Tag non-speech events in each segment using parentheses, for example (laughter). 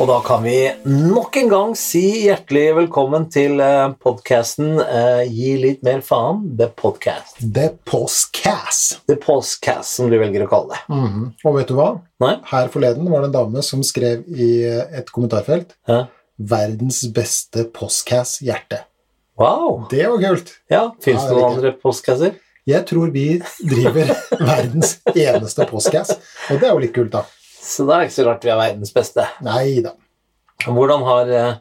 Og da kan vi nok en gang si hjertelig velkommen til podkasten Gi litt mer faen, The Podcast. The Postcass. The Podcast, som du velger å kalle det. Mhm. Og vet du hva? Nei? Her forleden var det en dame som skrev i et kommentarfelt Ja. 'Verdens beste postcass-hjerte'. Wow! Det var kult. Ja, Fins Ja, det jeg noen liker andre podcaster? Jeg tror vi driver verdens eneste postcass, og det er jo litt kult, da. Så da er det ikke så rart vi er verdens beste. Nei da. Hvordan har eh,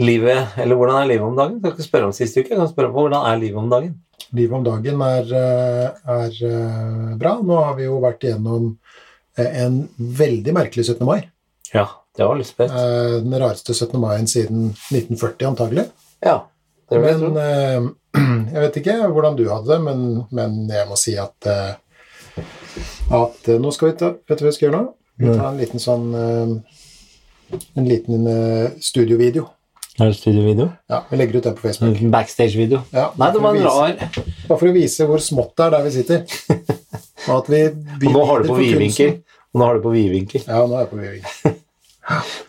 livet Eller hvordan er livet om dagen? Jeg kan ikke spørre om sist uke. Jeg kan spørre om hvordan er livet om dagen. Livet om dagen er, eh, er eh, bra. Nå har vi jo vært igjennom eh, en veldig merkelig 17. mai. Ja, det var litt Eh, spesielt. Den rareste 17. mai-en siden 1940, antagelig. Ja, det vil jeg Men tro. eh, (clears throat) jeg vet ikke hvordan du hadde det, men, men jeg må si at eh, at eh, nå skal vi ta Vet du hva vi skal gjøre nå? Vi tar en liten sånn eh, en liten eh, studiovideo. eh, Er det studiovideo? Ja, Vi legger ut den på En Facebook. liten backstage-video? Ja, Mm. Nei, det for å var en vise- rar Bare for å vise hvor smått det er der (laughs) vi sitter. Og at vi, vi Og nå har du på lider for vidvinkel. kunsten. Og nå har du på vidvinkel. Ja, nå er jeg på vidvinkel.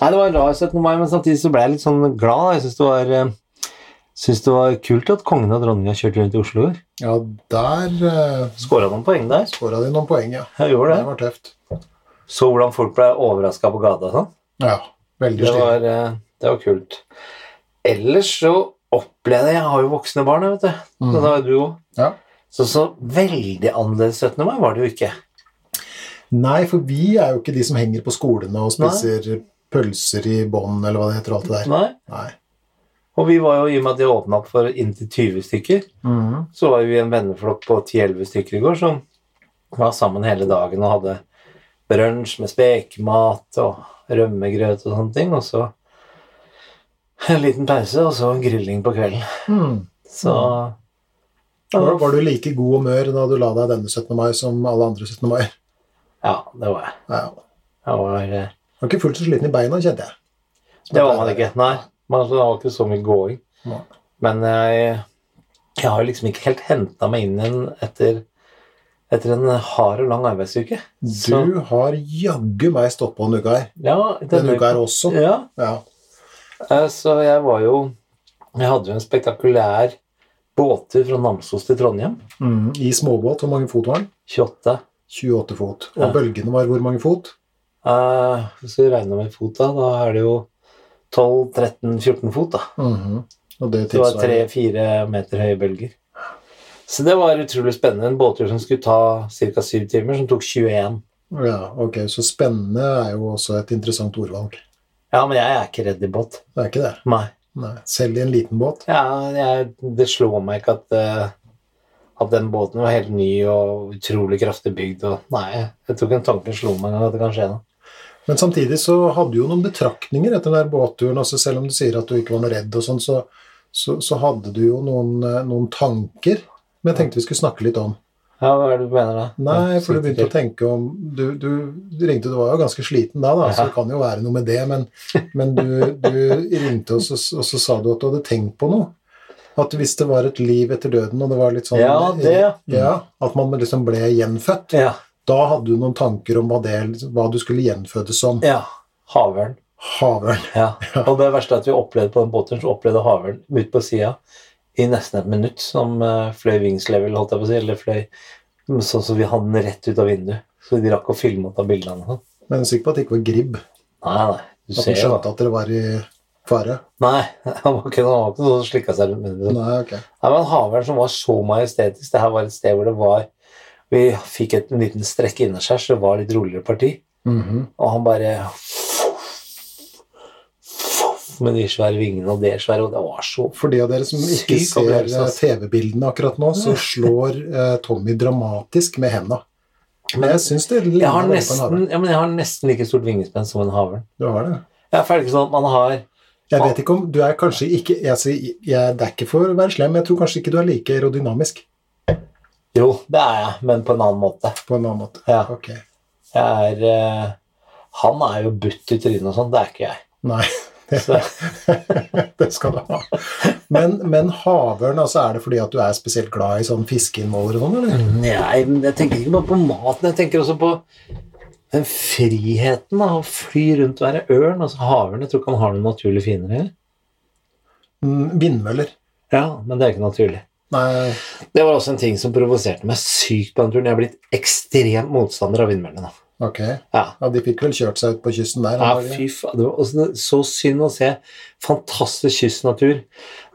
Nei, det var en rar 17. mai, men samtidig så ble jeg litt sånn glad. Jeg syns det var eh, synes det var kult at kongen og dronninga kjørte rundt i Oslo i år. Ja, der uh, Skåra noen poeng der. skåra de noen poeng, ja. Jeg gjorde Det det. var tøft. Så hvordan folk ble overraska på gata og sånn. Ja, veldig Det stilig. var, eh, det var kult. Ellers så opplevde jeg Jeg har jo voksne barn, jeg, vet du. Mhm. Det har jo du òg. Ja. Så så veldig annerledes 17. mai var det jo ikke. Nei, for vi er jo ikke de som henger på skolene og spiser pølser i bånd, eller hva det heter, og alt det der. Nei. Nei. Og vi var jo, i og med at de åpna opp for inntil 20 stykker, så var jo vi en venneflokk på 10-11 stykker i går som var sammen hele dagen og hadde brunsj med spekemat og rømmegrøt og sånne ting, og så en liten pause, og så grilling på kvelden. Mm. Så Var, var du like god humør da du la deg denne 17. mai som alle andre 17. mai? Ja, det var jeg. Ja. jeg var, eh, Du var ikke fullt så sliten i beina, kjente jeg. det var man ikke. Nei, man altså, det var ikke så mye gåing. Nei. Men jeg, jeg har liksom ikke helt henta meg inn igjen etter, etter en hard og lang arbeidsuke. Så- Du har jaggu meg stått på en uke her. Ja, Denne uka her også. Ja, Ja. eh, så jeg var jo Jeg hadde jo en spektakulær båttur fra Namsos til Trondheim. Mm. I småbåt, hvor mange fot var den? 28. 28 fot. Og Ja. bølgene var hvor mange fot? Eh, Hvis du regner med fot, da, da er det jo 12-13-14 fot, da. Mhm. Og det Det var tilsvarer tre-fire meter høye bølger. Så det var utrolig spennende. En båttur som skulle ta ca. 7 timer, som tok 21. Ja, ok, så spennende er jo også et interessant ordvalg. Ja, men jeg er ikke redd i båt. Det er ikke det. Nei. Nei. Selv i en liten båt. Ja, jeg, det slår meg ikke at, eh, at den båten var helt ny og utrolig kraftig bygd. Og nei, jeg tror ikke en tanke slo meg engang at det kan skje noe. Men samtidig så hadde du jo noen betraktninger etter den der båtturen. Altså selv om du sier at du ikke var noe redd, og sånn, så, så, så hadde du jo noen, eh, noen tanker. Men jeg tenkte vi skulle snakke litt om. Ja, hva er det du mener da? Nei, for du begynte å tenke om Du, du, du ringte, du var jo ganske sliten da, da så Ja. det kan jo være noe med det. Men, men du, du ringte, og så, og så sa du at du hadde tenkt på noe. At hvis det var et liv etter døden, og det var litt sånn Ja, det. Ja, At man liksom ble gjenfødt. Ja. Da hadde du noen tanker om hva, det, hva du skulle gjenfødes som. ja. Havørn. Havørn. Ja. Og det verste er at vi opplevde på den båten, så opplevde havørn ute på sida i nesten et minutt, som eh, fløy vingslevel, holdt jeg på å si, eller fløy mm, sånn som vi hadde den rett ut av vinduet. Så de rakk å filme og ta bilder av den. og sånn. Men jeg er sikker på at det ikke var gribb. Nei, nei. Du At de ser jo da. skjønte at dere var i fare. Nei, (laughs) han var ikke, han var ikke sånn som slikka seg rundt munnen. Nei, ok. Nei, men Havørn som var så majestetisk. Det her var et sted hvor det var Vi fikk et, en liten strekk innaskjærs, det var litt roligere parti. Mhm. Og han bare Med de svære vingene og det svære, og det var så For de av dere som ikke Syk ser opplevelse, eh, ass. TV-bildene akkurat nå, så slår eh, Tommy dramatisk med henda. Men jeg syns det ligner jeg har, veldig på en havørn. nesten, ja, men jeg har nesten like stort vingespenn som en havørn. Du har det. Jeg er ferdig sånn at man har Jeg vet ikke om Du er kanskje ikke jeg, sier- jeg, Det er ikke for å være slem, men jeg tror kanskje ikke du er like aerodynamisk Jo, det er jeg, men på en annen måte. på en annen måte. Ja. Ok. Jeg er eh, Han er jo butt i trynet og sånn, det er ikke jeg. Nei. Så, (laughs) det skal du ha. Men, men havørn, altså er det fordi at du er spesielt glad i sånn fiskeinnvoller og sånn, eller? nei, men jeg tenker ikke bare på maten, jeg tenker også på Den friheten da, å fly rundt og være ørn altså Havørn jeg tror ikke han har noen naturlig fiender heller. Mm, Vindmøller. Ja, men det er ikke naturlig. Nei, Det var også en ting som provoserte meg sykt på den turen. Jeg har blitt ekstremt motstander av vindmøllene. ok. Ja. Ja, de fikk vel kjørt seg ut på kysten der. Ja, antakelig. fy faen. Det var også så synd å se. Fantastisk kystnatur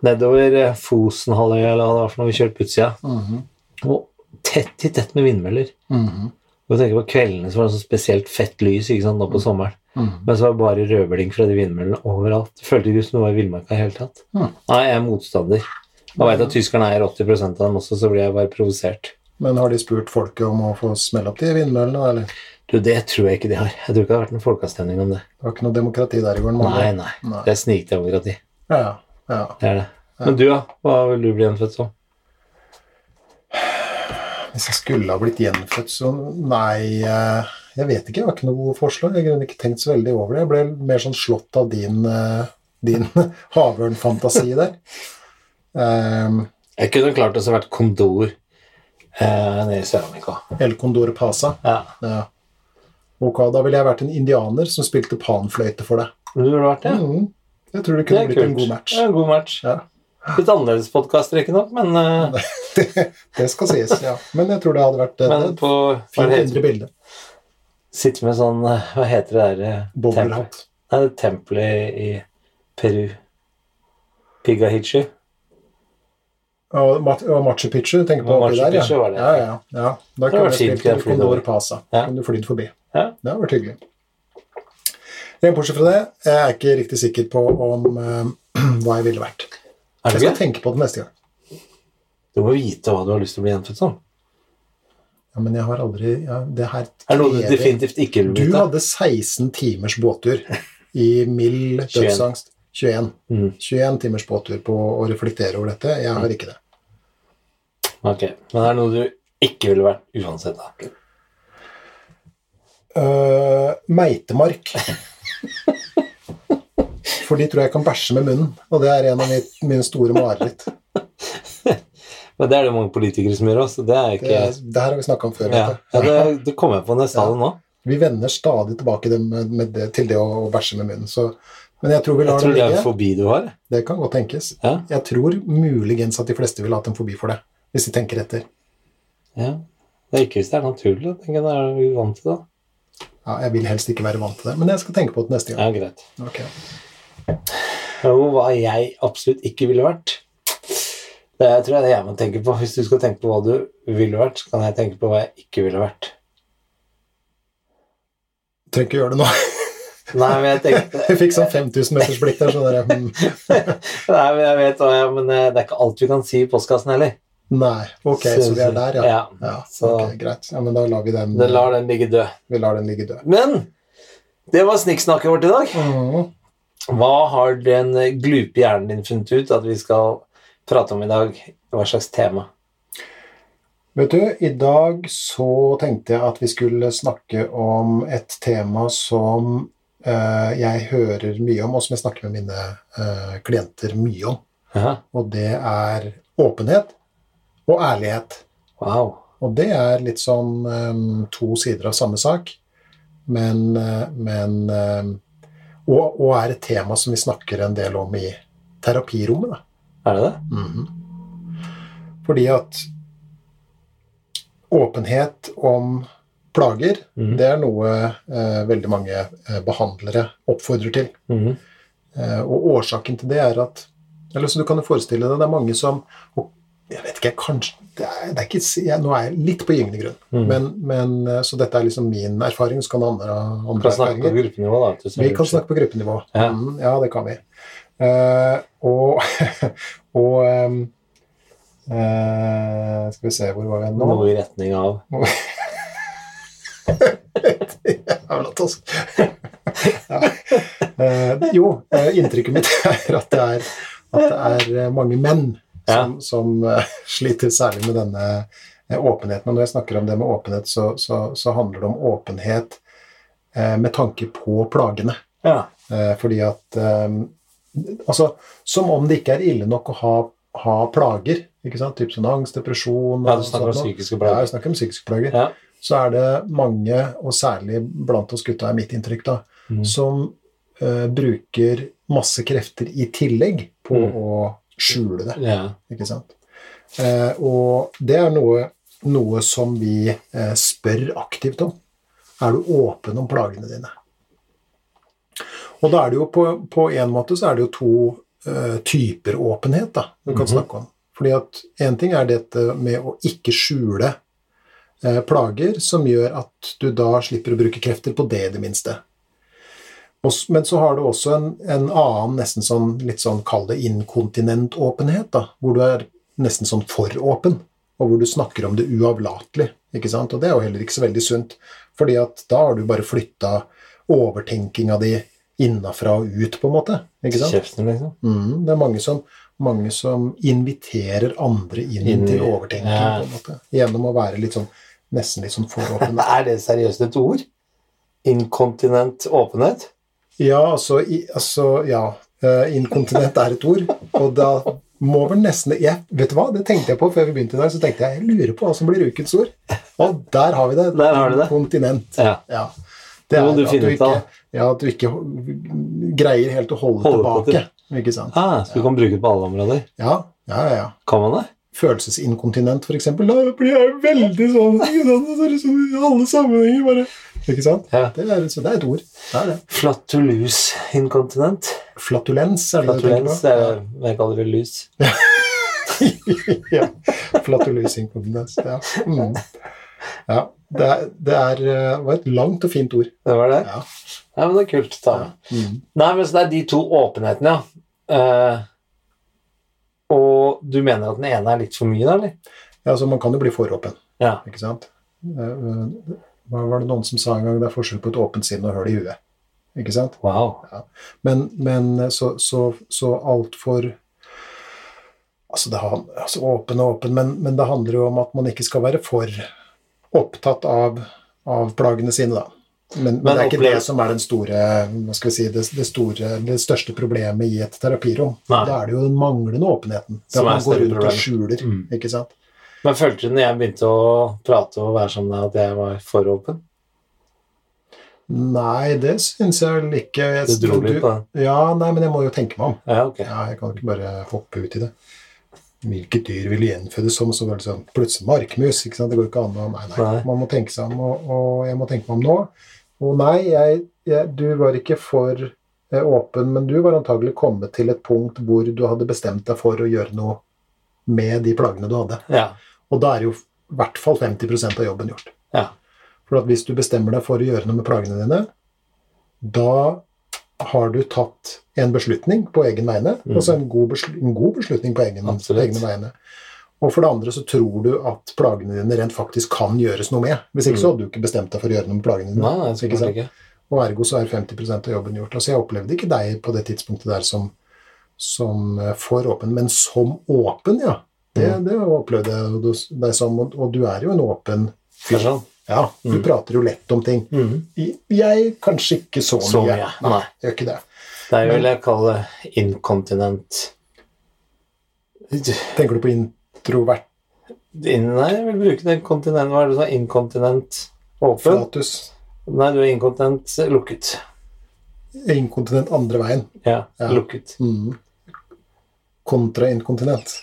nedover eh, Fosenhalvøya eller hva det var for noe vi kjørte på utsida. Mhm, Og tett i tett med vindmøller. mhm, Og jeg tenker på kveldene så var det så spesielt fett lys ikke sant, nå på sommeren. mhm. Men så var det bare rødbling fra de vindmøllene overalt. Det føltes ikke som det var i villmarka i det hele tatt. Mm. Nei, jeg er motstander. Jeg veit at tyskerne eier 80 av dem også, så blir jeg bare provosert. Men har de spurt folket om å få smelle opp de vindmøllene, eller? Du, det tror jeg ikke de har. Jeg tror ikke det har vært en folkeavstemning om det. Det var ikke noe demokrati der i går. Nei, nei. Nei. Det er snikdemokrati. Ja, ja. Det er det. Men du, da? Hva vil du bli gjenfødt som? Hvis jeg skulle ha blitt gjenfødt, så nei eh, Jeg vet ikke, jeg har ikke noe gode forslag. Jeg har i grunnen ikke tenkt så veldig over det. Jeg ble mer sånn slått av din, eh, din (laughs) havørnfantasi der. Um, Jeg kunne klart å vært kondor eh, nede i Sør-Amerika. El Condor Pasa. Ja. Ja. Ok, da ville jeg vært en indianer som spilte panfløyte for deg. Du ville vært det? Mm. Jeg tror det Det kunne er blitt kult. en god match. (laughs) Ja, en god match. Ja. Litt annerledes podkast, riktignok, men, eh, Det skal sies, ja. Men jeg tror det hadde vært eh, men et på hva fint heter, indre bilde. Sitte med sånn eh, Hva heter det der eh, tempel- Boblerhatt. Nei, det er tempelet i Peru. Pigahichi. Og, mat, og Machu Picchu, tenker på Og oppi Machu der, ja. Picchu var det. Ja, ja, ja. Da hadde kunne vært jeg fint spilt å til fly Condor over. Pasa. Ja. Kunne du flydd forbi. Ja. Det hadde vært hyggelig. Ja, bortsett fra det, jeg er ikke riktig sikker på om eh, (clears throat) hva jeg ville vært. Er Jeg det skal ikke? tenke på det neste gang. Du må vite hva du har lyst til å bli gjenfødt som. Ja, men jeg har aldri ja, Det her Er det noe du krever- definitivt ikke vil Du vite? hadde 16 timers båttur i (laughs) mild 21. dødsangst. 21. Mm. 21 timers båttur på å reflektere over dette. Jeg har ikke det. Ok, Men er det noe du ikke ville vært uansett? da? Øh, meitemark. For de tror jeg kan bæsje med munnen, og det er en av mitt- mine store mareritt. Men Det er det mange politikere som gjør også. Det er Det, ikke... det her har vi snakka om før. Ja, vet du. ja det, det kom jeg på når jeg sa det nå. Vi vender stadig tilbake det med, med det, til det å, å bæsje med munnen. Så, men jeg tror vi Jeg lar tror det det er en ligge. fobi du har. Det kan godt tenkes. Ja, Jeg tror muligens at de fleste ville hatt en fobi for det, hvis de tenker etter. ja. Det er ikke hvis det er naturlig. tenker jeg, Da er vi vant til det. Ja, jeg vil helst ikke være vant til det, men jeg skal tenke på det neste gang. Ja, greit. Ok. Jo, hva jeg absolutt ikke ville vært Det er, tror jeg det jeg må tenke på. Hvis du skal tenke på hva du ville vært, så kan jeg tenke på hva jeg ikke ville vært. Trenger ikke gjøre det nå. (laughs) Nei, men jeg tenkte Jeg fikk sånn 5000 meters blikk der. Så hmm. der jeg, Nei, men jeg vet hva jeg Men eh, det er ikke alt vi kan si i postkassen heller. nei, ok, så vi er der, ja. Ja, Så- ok, greit. Ja, men da lar vi den, Det lar den ligge død. vi lar den ligge død. Men det var snikksnakket vårt i dag. Mhm. Hva har den glupe hjernen din funnet ut at vi skal prate om i dag? Hva slags tema? Vet du, i dag så tenkte jeg at vi skulle snakke om et tema som eh, jeg hører mye om, og som jeg snakker med mine eh, klienter mye om. Jaha, Og det er åpenhet og ærlighet. Wow. Og det er litt sånn ehm, to sider av samme sak, men, eh, men ehm, og, og er et tema som vi snakker en del om i terapirommet. Da. Er det det? Fordi at åpenhet om plager, Mhm. det er noe eh, veldig mange eh, behandlere oppfordrer til. Mhm. Eh, Og årsaken til det er at eller så Du kan jo forestille deg det er mange som og jeg vet ikke, kanskje, det er, det er ikke, jeg, Nå er jeg litt på gyngende grunn, Mm. men, men, eh, så dette er liksom min erfaring. Så kan andre ha Vi andre kan snakke på erfaringer. gruppenivå, da. vet du, så Vi er kan det- snakke på gruppenivå. Ja. Mm, ja det kan vi. Eh, og (laughs) og ehm, eh, Skal vi se, hvor var vi nå? (laughs) Noe i retning av Jævla tosk. (laughs) ja. eh, jo, eh, inntrykket mitt (laughs) er at det er, at det er eh, mange menn som, som eh, sliter særlig med denne eh, åpenheten. Og når jeg snakker om det med åpenhet, så, så, så handler det om åpenhet eh, med tanke på plagene. Ja. Eh, fordi at eh, Altså, som om det ikke er ille nok å ha, ha plager. ikke sant? Typ sånn angst, depresjon ja, du og snakker om sånt noe. psykiske Ja, plager. jeg snakker om psykiske plager. Ja. så er det mange, og særlig blant oss gutta, er mitt inntrykk, da, Mm. som eh, bruker masse krefter i tillegg på Mm. å skjule det. Ja. Ikke sant? Eh, og det er noe, noe som vi eh, spør aktivt om. Er du åpen om plagene dine? Og da er det jo på, på en måte så er det jo to eh, typer åpenhet da, du kan snakke om. Fordi at én ting er dette med å ikke skjule eh, plager, som gjør at du da slipper å bruke krefter på det, i det minste. Og s- Men så har du også en, en annen, nesten sånn, litt sånn, kall det inkontinentåpenhet, da, hvor du er nesten sånn for åpen, og hvor du snakker om det uavlatelig, ikke sant? Og det er jo heller ikke så veldig sunt, fordi at da har du bare flytta overtenkinga di innafra og ut, på en måte, ikke sant? Kjeften, liksom. Mm, det er mange som, mange som inviterer andre inn, Inn i- til overtenking, ja. på en måte, gjennom å være litt sånn, nesten litt sånn for åpen. Men er det seriøst et ord? Inkontinent åpenhet? (laughs) Ja, altså, i, altså ja. eh, inkontinent er et ord, og da må vel nesten jeg, Vet du hva, det tenkte jeg på før vi begynte i dag. Så tenkte jeg jeg lurer på hva som blir ukens ord. Og der har vi det. Der har du det. Kontinent. Ja. Ja. Det Det må du at finne ut ikke, av. Ja, at du ikke greier helt å holde, Holde på tilbake. Ikke sant? Ah, så du kan bruke det på alle områder? Ja, ja, ja. ja. Kan man det? Følelsesinkontinent, for eksempel. Da blir jeg veldig sånn ikke sant? Så er det sånn I alle sammenhenger, bare. Ikke sant? Ja. Det, er, så det er et ord. Det er det. Flatulus-inkontinent? Flatulens, er det det du tenker Flatulens på? er Jeg kaller det lus. (laughs) ja. Flatulensinkontinens. Ja. Mm. ja. Det, er, det er, eh, var et langt og fint ord. Det var det? Ja. Ja, men det er kult. Ta med. Mm. Nei, men så det er de to åpenhetene, ja. Eh, og du mener at den ene er litt for mye, da, eller? Ja, altså, man kan jo bli for åpen, Ja. ikke sant? Eh, eh, Hva var det noen som sa en gang? Det er forskjell på et åpent sinn og høl i huet. Ikke sant? Wow. Men, men eh, så, så, så altfor Altså, det han- altså åpen og åpen, men, men det handler jo om at man ikke skal være for opptatt av, av plagene sine, da. Men, men, Men det er ikke opplever- det som er den store, hva skal vi si, det, det, store, det største problemet i et terapirom. Nei. Da er det jo den manglende åpenheten. Det Som at er man går større rundt og problem. skjuler, Mm. ikke sant. Men følte du når jeg begynte å prate og være som deg, at jeg var for åpen? Nei, det syns jeg vel ikke. Jeg- Du dro litt på den. Ja, nei, men jeg må jo tenke meg om. Ja, ok. Ja, jeg kan ikke bare hoppe ut i det. Hvilket dyr vil gjenfødes som? Så var det sånn, plutselig markmus. ikke sant? Det går ikke an å Nei, nei. Nei. Man må tenke seg om, og, og jeg må tenke meg om nå. Og nei, jeg, jeg, du var ikke for eh, åpen, men du var antagelig kommet til et punkt hvor du hadde bestemt deg for å gjøre noe med de plagene du hadde. Ja. Og da er jo i hvert fall 50 av jobben gjort. ja. For at hvis du bestemmer deg for å gjøre noe med plagene dine, da har du tatt en beslutning på egen vegne, Mm. altså en god, besl en god beslutning på egen, på Absolutt. egne vegne. Og for det andre så tror du at plagene dine rent faktisk kan gjøres noe med. Hvis ikke så hadde du ikke bestemt deg for å gjøre noe med plagene dine. Mm. Nei, nei, Ikke sant? sikkert ikke. Og ergo så er 50 av jobben gjort. Altså jeg opplevde ikke deg på det tidspunktet der som, som eh, for åpen, men som åpen, ja. Det, Mm. det opplevde jeg jo deg som, og og du er jo en åpen Det er sånn. Ja, du prater jo lett om ting. Mhm. I- Jeg kanskje ikke så mye. Så mye. Nei. Gjør ikke det. Det vil jeg kalle inkontinent. Tenker du på introvert In, nei, jeg vil bruke den kontinenten. Hva er det du sa? Inkontinent åpen? flatus? Nei, du er inkontinent lukket. Inkontinent andre veien. Ja, Ja. lukket. Mm. Kontrainkontinent.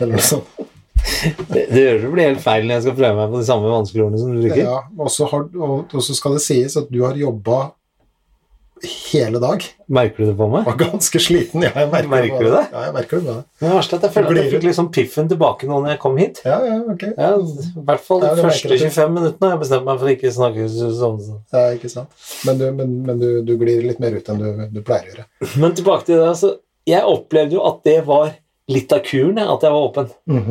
Eller noe sånt. Det, det gjør det blir helt feil når jeg skal prøve meg på de samme vanskelige ordene som du bruker. Ja, og så har- og og så skal det sies at du har jobba hele dag. Merker du det på meg? Var ganske sliten. Ja, jeg merker, Merker på du det? Ja, jeg merker det. på deg. Det verste er at jeg føler at jeg Blir- fikk liksom piffen tilbake nå når jeg kom hit. Ja, ja, ok. Ja, I hvert fall de Ja, du merker første at du- 25 minuttene har jeg bestemt meg for ikke å snakke sånn. sånn. Ja, ikke sant. Men, du, men, men du, du glir litt mer ut enn du, du pleier å gjøre. Men tilbake til det. altså, Jeg opplevde jo at det var litt av kuren, jeg, at jeg var åpen. Jeg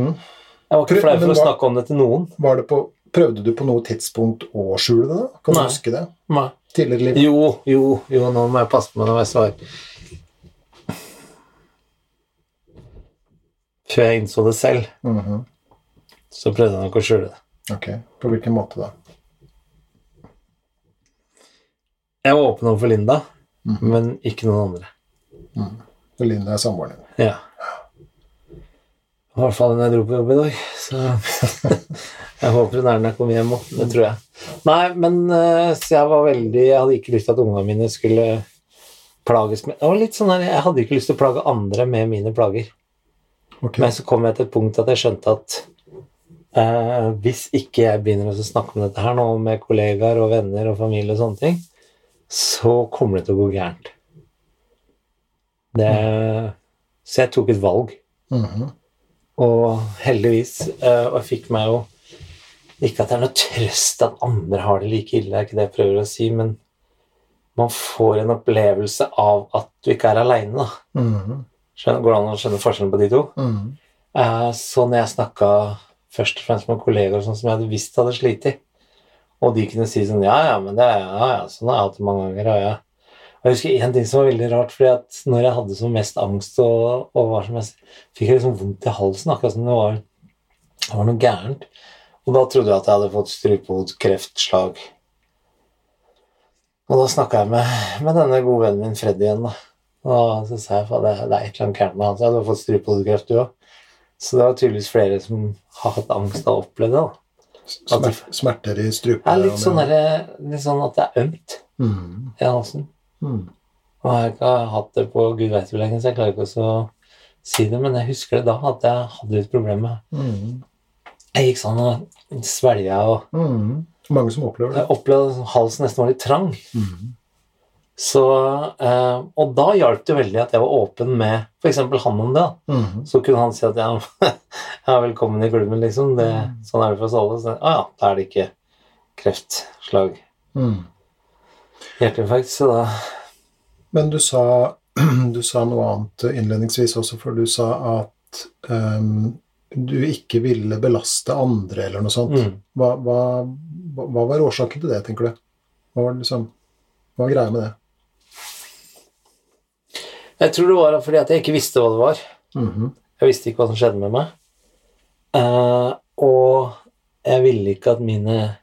var Prøv- ikke flau for men å hva- snakke om det til noen. Var det på, prøvde du på noe tidspunkt å skjule det? da? Kan du Nei. huske det? Tidligere i livet? Jo, jo, jo, nå må jeg passe på når jeg svarer. Før jeg innså det selv, Mhm. så prøvde jeg nok å skjule det. Ok, På hvilken måte da? Jeg var åpen overfor Linda, Mhm. men ikke noen andre. Linda er samboeren din. Ja. I hvert fall når jeg dro på jobb i dag. Så (laughs) jeg håper hun Erna kom hjem òg. Det tror jeg. Nei, men eh, så jeg var veldig Jeg hadde ikke lyst til at ungene mine skulle plages med Det var litt sånn her, Jeg hadde ikke lyst til å plage andre med mine plager. Ok. Men så kom jeg til et punkt at jeg skjønte at eh, hvis ikke jeg begynner å snakke om dette her nå med kollegaer og venner og familie og sånne ting, så kommer det til å gå gærent. Det, så jeg tok et valg. Mhm. Og heldigvis. eh, Og jeg fikk meg jo Ikke at det er noe trøst at andre har det like ille, det er ikke det jeg prøver å si, men man får en opplevelse av at du ikke er aleine, da. Mhm. Skjønner, går det an å skjønne forskjellen på de to? Mhm. Eh, Så når jeg snakka først og fremst med kolleger og sånn som jeg hadde visst hadde slitt, og de kunne si sånn Ja, ja, men det er ja, ja, sånn har jeg hatt det mange ganger. Og jeg, og jeg husker én ting som var veldig rart, fordi at når jeg hadde som mest angst og, og var som mest Fikk jeg liksom vondt i halsen, akkurat som det var, det var noe gærent. Og da trodde jeg at jeg hadde fått strupehodekreftslag. Og da snakka jeg med, med denne gode vennen min Freddy igjen, da. Og så sa jeg at det, det er et eller annet gærent med han. Så jeg hadde fått strupehodekreft, du òg. Så det var tydeligvis flere som har hatt angst og opplevd det. da. Smer- Smerter i strupen. Det er litt sånn, der, litt sånn at det er ømt Mhm. i halsen. Mhm. Og jeg har ikke hatt det på gud veit hvor lenge, så jeg klarer ikke også å si det. Men jeg husker det da, at jeg hadde litt problemer. Mhm. Jeg gikk sånn og svelga og Mhm. Mange som opplever det. jeg opplevde at halsen nesten var litt trang. Mhm. Så, eh, og da hjalp det veldig at jeg var åpen med f.eks. han om det. da. Mhm. Så kunne han si at ja, (laughs) ja velkommen i klubben, liksom. Det, sånn er det for oss alle. Så, ah, ja, da er det ikke kreftslag. Mhm. Hjerteinfarkt, så da Men du sa, (clears throat) du sa noe annet innledningsvis også, for du sa at ehm, du ikke ville belaste andre eller noe sånt. mm. Hva, hva, hva var årsaken til det, tenker du? Hva var, det liksom, hva var greia med det? Jeg tror det var fordi at jeg ikke visste hva det var. Mhm, Jeg visste ikke hva som skjedde med meg. Eh, og jeg ville ikke at mine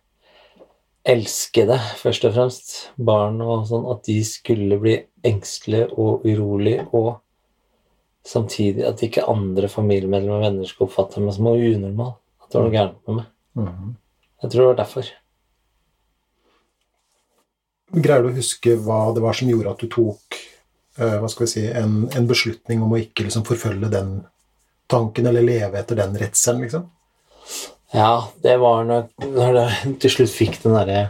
elskede, først og fremst, barn og sånn, at de skulle bli engstelige og urolige, og samtidig at ikke andre familiemedlemmer og venner skulle oppfatte meg som unormal. At det var noe gærent med meg. mhm. Jeg tror det var derfor. Greier du å huske hva det var som gjorde at du tok eh, hva skal vi si, en, en beslutning om å ikke liksom, forfølge den tanken eller leve etter den redselen, liksom? Ja, det var nok når jeg til slutt fikk den derre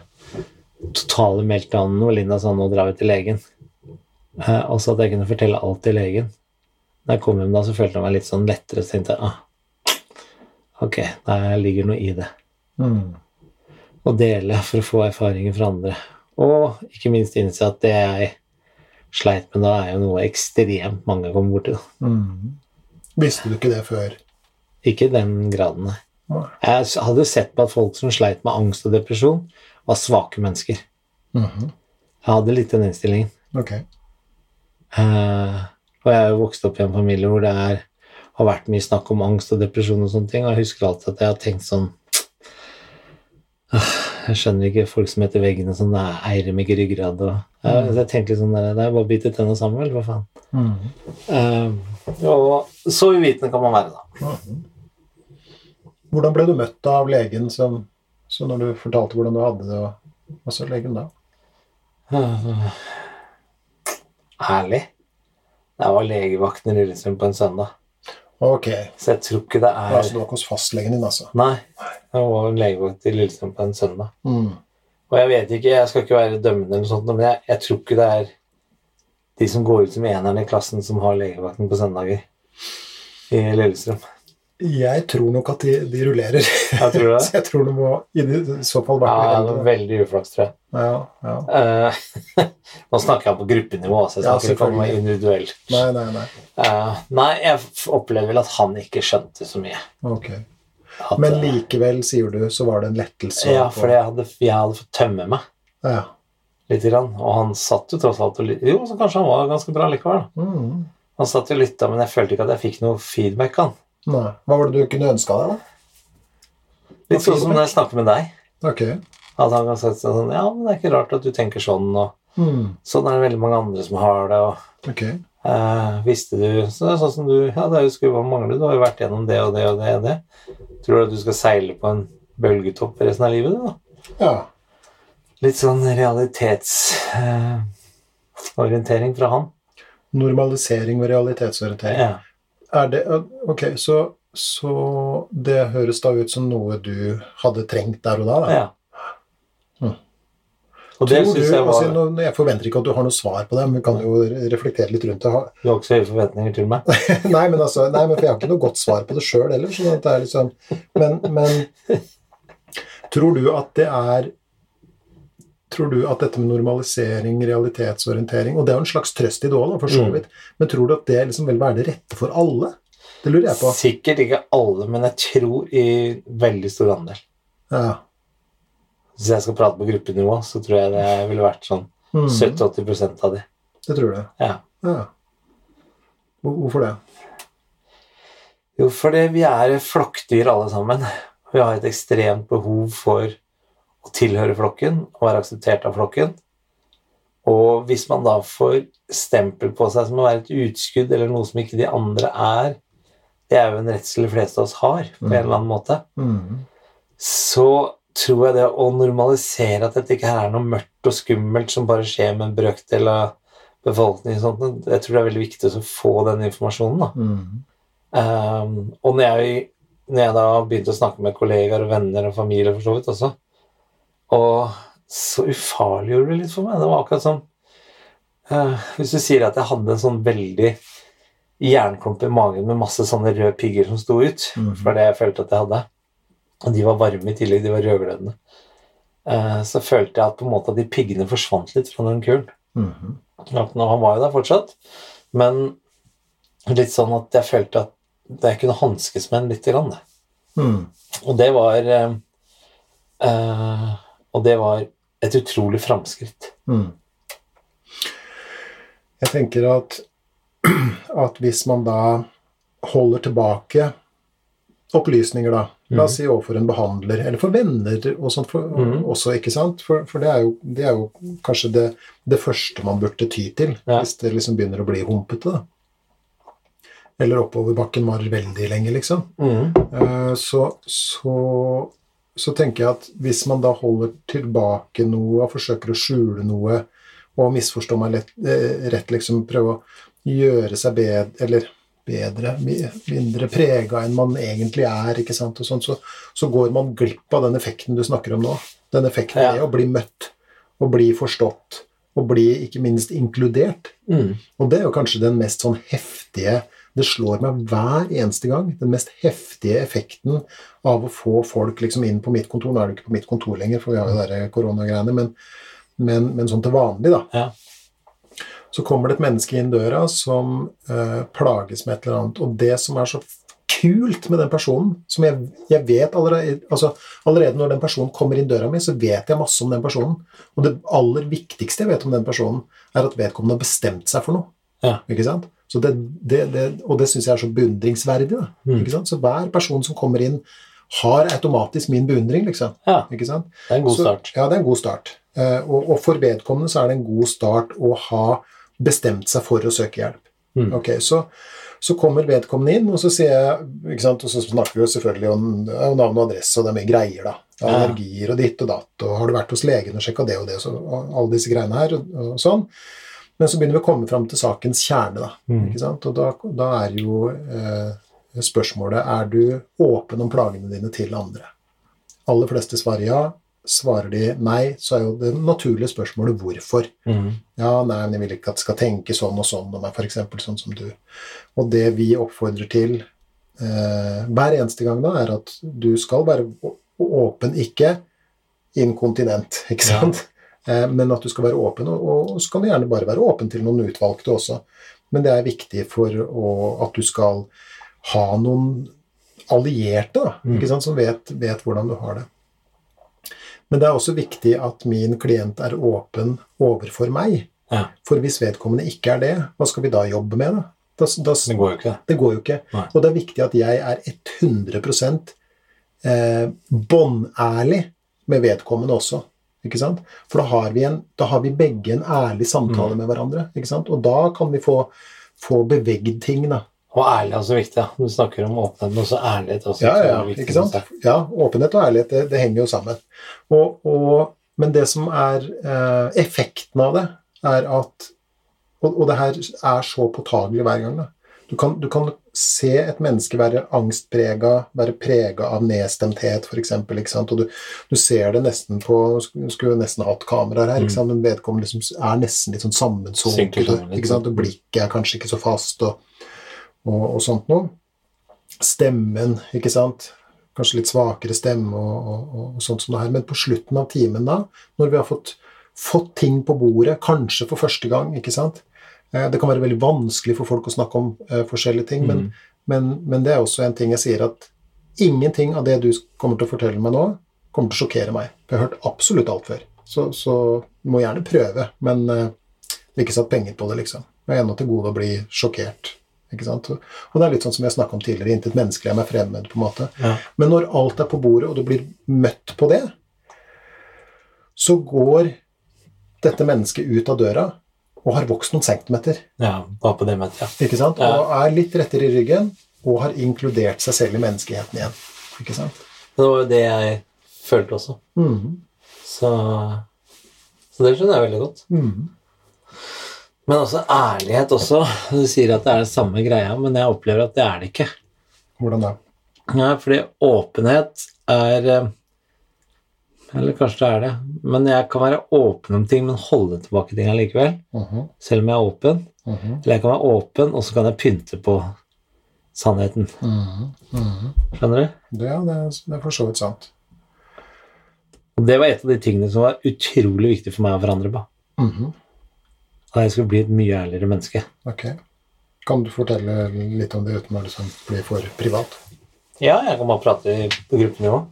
totale meltdownen hvor Linda sa 'nå drar vi til legen'. Eh, og så at jeg kunne fortelle alt til legen. Da jeg kom hjem da, så følte jeg meg litt sånn lettere, så tenkte jeg ah, ok, der ligger noe i det. Mm, Mhm, Å dele for å få erfaringer fra andre. Og ikke minst innse at det jeg sleit med da, er jo noe ekstremt mange kommer borti. da. mm. mhm. Visste du ikke det før? Ikke i den graden, nei. Nei. Jeg s- hadde sett på at folk som sleit med angst og depresjon, var svake mennesker. Mm-hmm. Mhm, Jeg hadde litt den innstillingen. Ok. Eh, og jeg er jo vokst opp i en familie hvor det er, har vært mye snakk om angst og depresjon og sånne ting, og jeg husker alltid at jeg har tenkt sånn «Ah, Jeg skjønner ikke folk som heter Veggene som det er eier med ikke ryggrad og jeg, jeg tenkte litt sånn der, Det er bare å bite tenna sammen, vel, hva faen. Mhm, Mm-hmm. Eh, og så uvitende kan man være, da. mhm. Hvordan ble du møtt av legen som, så når du fortalte hvordan du hadde det, og hva sa legen da? Eh, Ærlig. Det var legevakten i Lillesund på en søndag, Ok, så jeg tror ikke det det er var altså nok hos fastlegen din, altså. Nei. Det var en legevakt i Lillesand på en søndag. Mm. Og jeg vet ikke, jeg skal ikke være dømmende, eller noe sånt, men jeg, jeg tror ikke det er de som går ut som eneren i klassen, som har legevakten på søndager i Lillestrøm. Jeg tror nok at de, de rullerer. Jeg tror det. (laughs) Så jeg tror det må i det- i så fall (laughs) Ja, vært noe det annet. var veldig uflaks, tror jeg. Ja, ja. Eh, (laughs) nå snakker jeg på gruppenivå, så jeg Ja, snakker ikke om selvfølgelig. individuell. Nei, nei, nei. Eh, nei, jeg f- opplever vel at han ikke skjønte så mye. Ok. At, Men sånn eh, likevel, sier du, så var det en lettelse. Ja, å få- for jeg hadde, jeg hadde fått tømme meg Ja. lite grann, og han satt jo tross alt og li- Jo, så kanskje han var ganske bra likevel. da. Mm. Han satt og lytta, men jeg følte ikke at jeg fikk noe feedback, han. Nei. Hva var det du kunne ønska deg, da? Litt sånn som når jeg snakker med deg. Ok. At han kan sette seg sånn Ja, men det er ikke rart at du tenker sånn, og Mm. sånn er det veldig mange andre som har det, og Ok. Eh, visste du så det er sånn som du, ja, det er jo skulle bare mangle. Du har jo vært gjennom det og det og det. og det. Tror du at du skal seile på en bølgetopp resten av livet? du, da? Ja. Litt sånn realitetsorientering fra han. Normalisering og realitetsorientering. Ja. Er det Ok, så, så det høres da ut som noe du hadde trengt der og da? da. ja. Mm. Og det Tror du, syns jeg altså, var nå, nå- jeg forventer ikke at du har noe svar på det, men vi kan jo re- reflektere litt rundt det. Ha- Du har ikke så høye forventninger til meg? Nei, men altså, nei, men for jeg har ikke noe godt svar på det sjøl heller. Sånn at det er liksom, men, men tror du at det er Tror du at dette med normalisering, realitetsorientering Og det er jo en slags trøst i det òg, for så Mm. vidt. Men tror du at det liksom vil være det rette for alle? Det lurer jeg på. Sikkert ikke alle, men jeg tror i veldig stor andel. Ja. Hvis jeg skal prate på gruppenivå, så tror jeg det ville vært sånn Mm. 70-80 av de. Det tror du. Ja. Ja. Hvor- Hvorfor det? Jo, fordi vi er flokkdyr alle sammen. Vi har et ekstremt behov for å tilhøre flokken og være akseptert av flokken. Og hvis man da får stempel på seg som å være et utskudd eller noe som ikke de andre er, det er jo en redsel de fleste av oss har på en Mhm. eller annen måte, Mm. så tror jeg det å normalisere at dette ikke her er noe mørkt og skummelt som bare skjer med en brøkdel av befolkningen, og sånt, jeg tror det er veldig viktig å få den informasjonen. da. Mm. Ehm, og når jeg, når jeg da begynte å snakke med kollegaer og venner og familie for så vidt også, og så ufarliggjorde det litt for meg. Det var akkurat som eh, Hvis du sier at jeg hadde en sånn veldig jernklump i magen med masse sånne røde pigger som sto ut, Mhm. for det jeg følte at jeg hadde. Og de var varme i tillegg, de var rødglødende. Eh, så følte jeg at på en måte at de piggene forsvant litt fra den kulen. Mhm. Ja, nå, han var jo der fortsatt, men litt sånn at jeg følte at jeg kunne hanskes med den litt. Grann. Mm. Og det var eh, eh, Og det var et utrolig framskritt. Mm. Jeg tenker at, (clears throat) at hvis man da holder tilbake opplysninger, da La oss si overfor en behandler, eller for venner og sånt for, Mhm. også, ikke sant? For, for det, er jo, det er jo kanskje det, det første man burde ty til Ja. hvis det liksom begynner å bli humpete. da. Eller oppoverbakken varer veldig lenge, liksom. Eh, så, så, så tenker jeg at hvis man da holder tilbake noe og forsøker å skjule noe og misforstå meg lett, eh, rett, liksom prøve å gjøre seg bedre, eller bedre, mi- mindre prega enn man egentlig er, ikke sant, og sånn, så, så går man glipp av den effekten du snakker om nå. Den effekten Ja. er å bli møtt, og bli forstått, og bli ikke minst inkludert. Mm. Og det er jo kanskje den mest sånn heftige Det slår meg hver eneste gang. Den mest heftige effekten av å få folk liksom inn på mitt kontor. Nå er det ikke på mitt kontor lenger, for vi har jo de der koronagreiene, men, men, men sånn til vanlig, da. Ja. Så kommer det et menneske inn døra som eh, plages med et eller annet. Og det som er så kult med den personen som jeg, jeg vet allerede, altså, allerede når den personen kommer inn døra mi, så vet jeg masse om den personen. Og det aller viktigste jeg vet om den personen, er at vedkommende har bestemt seg for noe. Ja. Ikke sant? Så det, det, det, og det syns jeg er så beundringsverdig. Da. Mm. Ikke sant? Så hver person som kommer inn, har automatisk min beundring, liksom. Ja, Ikke sant? det er en god Så- start. Ja, det er en god start. Eh, og, og for vedkommende så er det en god start å ha bestemt seg for å søke hjelp. Mm. Ok, så, så kommer vedkommende inn, og så sier jeg, ikke sant, og så snakker vi jo selvfølgelig om, om navn og adresse, og det er mye greier da. Det er Ja. Allergier og ditt og datt, og har du vært hos legen og sjekka det og det, og, så, og alle disse greiene her, og, og sånn. Men så begynner vi å komme fram til sakens kjerne, da. Mm. Ikke sant? Og da, da er jo eh, spørsmålet er du åpen om plagene dine til andre. Aller fleste svarer ja. Svarer de nei, så er jo det naturlige spørsmålet hvorfor. Mm. Ja, nei, men jeg vil ikke at det skal tenke sånn og sånn om meg, f.eks. sånn som du. Og det vi oppfordrer til eh, hver eneste gang da, er at du skal være å- åpen, ikke inkontinent, (laughs) ikke Ja. sant? Eh, men at du skal være åpen, og, og så kan du gjerne bare være åpen til noen utvalgte også. Men det er viktig for å, at du skal ha noen allierte, da, Mm. ikke sant, som vet, vet hvordan du har det. Men det er også viktig at min klient er åpen overfor meg. Ja. For hvis vedkommende ikke er det, hva skal vi da jobbe med? Da? Da, da, Det går jo ikke, det. det går jo ikke. Nei. Og det er viktig at jeg er 100 eh, båndærlig med vedkommende også. Ikke sant? Mm. For da har, vi en, da har vi begge en ærlig samtale med hverandre. Ikke sant? Og da kan vi få få bevegd ting, da. Og ærlig er også viktig. ja. Du snakker om åpenhet, men også ærlighet. er Også, Ja, ja, utrolig viktig, ikke sant? synes jeg. Ja, åpenhet og ærlighet, det, det henger jo sammen. Og, og, men det som er eh, effekten av det, er at og, og det her er så påtagelig hver gang. Da. Du, kan, du kan se et menneske være angstprega, være prega av nedstemthet, f.eks. Og du, du ser det nesten på Nå skulle vi nesten hatt kameraer her, ikke sant? men vedkommende liksom er nesten litt sånn Synker sammensunket. sammen litt, Ikke sant? Og blikket er kanskje ikke så fast, og, og, og sånt noe. Stemmen, ikke sant. Kanskje litt svakere stemme og, og, og, og sånt som det her. Men på slutten av timen, da, når vi har fått, fått ting på bordet, kanskje for første gang, ikke sant. Eh, Det kan være veldig vanskelig for folk å snakke om eh, forskjellige ting, men, men, men det er også en ting jeg sier at ingenting av det du kommer til å fortelle meg nå, kommer til å sjokkere meg. For jeg har hørt absolutt alt før. Så, så du må gjerne prøve, men eh, det er ikke satt penger på det, liksom. Jeg er ennå til gode å bli sjokkert. Ikke sant? Og- Og det er litt sånn som vi har snakket om tidligere, intet menneskelig er meg fremmed, på en måte. Ja. Men når alt er på bordet, og du blir møtt på det, så går dette mennesket ut av døra og har vokst noen centimeter Ja, bare på det møtet, ja. ikke sant? Ja. og er litt rettere i ryggen og har inkludert seg selv i menneskeheten igjen. Ikke sant? Men Det var jo det jeg følte også. Mhm. Så, så det skjønner jeg veldig godt. Mhm. Men også ærlighet også. Du sier at det er det samme greia, men jeg opplever at det er det ikke. Hvordan da? Nei, fordi åpenhet er eh, Eller kanskje det er det. Men jeg kan være åpen om ting, men holde tilbake ting allikevel. Mhm. Selv om jeg er åpen. Mhm. Eller jeg kan være åpen, og så kan jeg pynte på sannheten. Mhm. Mhm. Skjønner du? Det, ja, det, er- det er for så vidt sant. Og det var et av de tingene som var utrolig viktig for meg å forandre på. Mhm. At jeg skulle bli et mye ærligere menneske. Ok. Kan du fortelle litt om det uten å liksom bli for privat? Ja, jeg kan bare prate i- på gruppenivå.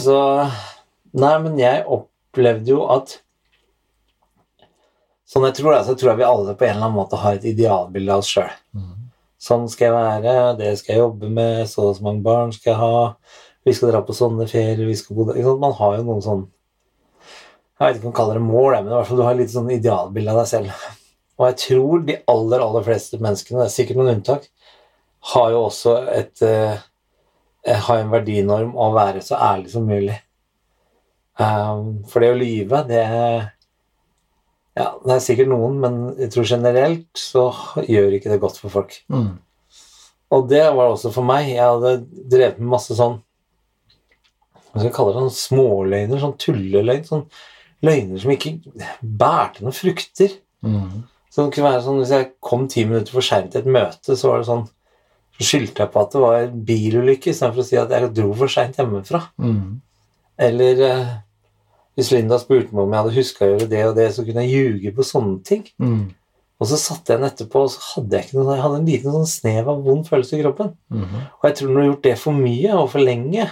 Så Nei, men jeg opplevde jo at Sånn jeg tror det, er, så tror jeg vi alle på en eller annen måte har et idealbilde av oss sjøl. Sånn skal jeg være, det skal jeg jobbe med, så og så mange barn skal jeg ha, vi skal dra på sånne ferier vi skal bo der. ikke sant? Man har jo noen sånn Jeg vet ikke om man kaller det mål, men i hvert fall du har litt sånn idealbilde av deg selv. Og jeg tror de aller, aller fleste menneskene, det er sikkert noen unntak, har jo også et eh, har en verdinorm å være så ærlig som mulig. Ehm, for det å lyve, det ja, Det er sikkert noen, men jeg tror generelt så gjør ikke det godt for folk. Mhm. Og det var det også for meg. Jeg hadde drevet med masse sånn Hva skal jeg kalle det? Sånn småløgner, sånn tulleløgn. Sånn løgner som ikke bærte noen frukter. Mhm. Så det kunne være sånn, Hvis jeg kom ti minutter for seint til et møte, så var det sånn, så skyldte jeg på at det var en bilulykke, istedenfor å si at jeg dro for seint hjemmefra. Mhm. Eller eh, hvis Linda spurte meg om jeg hadde huska å gjøre det og det, så kunne jeg ljuge på sånne ting. Mhm. Og så satte jeg den etterpå, og så hadde jeg ikke noe, jeg hadde en liten sånn snev av vond følelse i kroppen. Mhm. Og jeg tror når du har gjort det for mye og for lenge,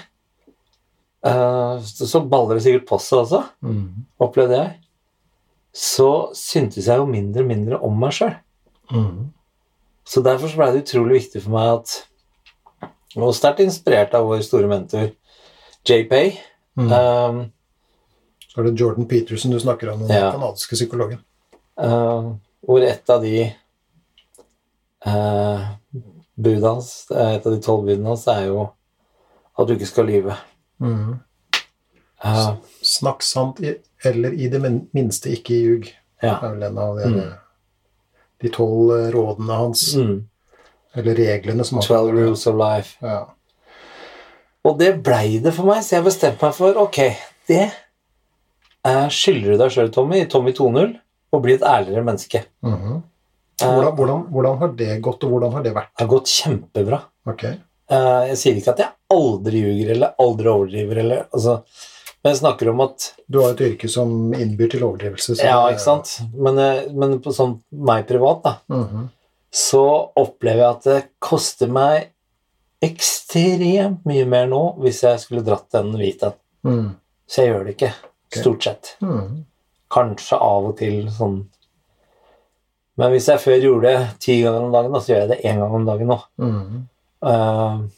eh, så så baller det sikkert på seg også, Mhm. opplevde jeg. Så syntes jeg jo mindre og mindre om meg sjøl. Mhm. Så derfor så ble det utrolig viktig for meg at Og sterkt inspirert av vår store mentor JP. Mhm. Um, Så er det Jordan Peterson du snakker om, den Ja. kanadiske psykologen. eh, hvor et av de uh, budene hans, eh, et av de tolv budene hans, er jo at du ikke skal lyve. Mhm. Eh, Snakk sant, i, eller i det min- minste ikke ljug. ja. Det er vel en av de, Mm. de tolv eh, rådene hans, Mm. eller reglene som han 12 rules of life. Ja. Og det blei det for meg, så jeg bestemte meg for ok, det eh, skylder du deg sjøl, Tommy, i Tommy 2.0, å bli et ærligere menneske. Mhm. Eh, hvordan, hvordan, hvordan har det gått, og hvordan har det vært? det har gått kjempebra. Ok. Eh, Jeg sier ikke at jeg aldri ljuger eller aldri overdriver, eller, altså, men jeg snakker om at Du har et yrke som innbyr til overdrivelse. så Ja, det er- ikke sant? Men, eh, men på sånn meg privat, da, Mhm. så opplever jeg at det koster meg ekstremt mye mer nå hvis jeg skulle dratt den hviten. Mhm. Så jeg gjør det ikke, stort sett. Mhm. Kanskje av og til sånn Men hvis jeg før gjorde det ti ganger om dagen, da, så gjør jeg det én gang om dagen nå. Mhm. Eh,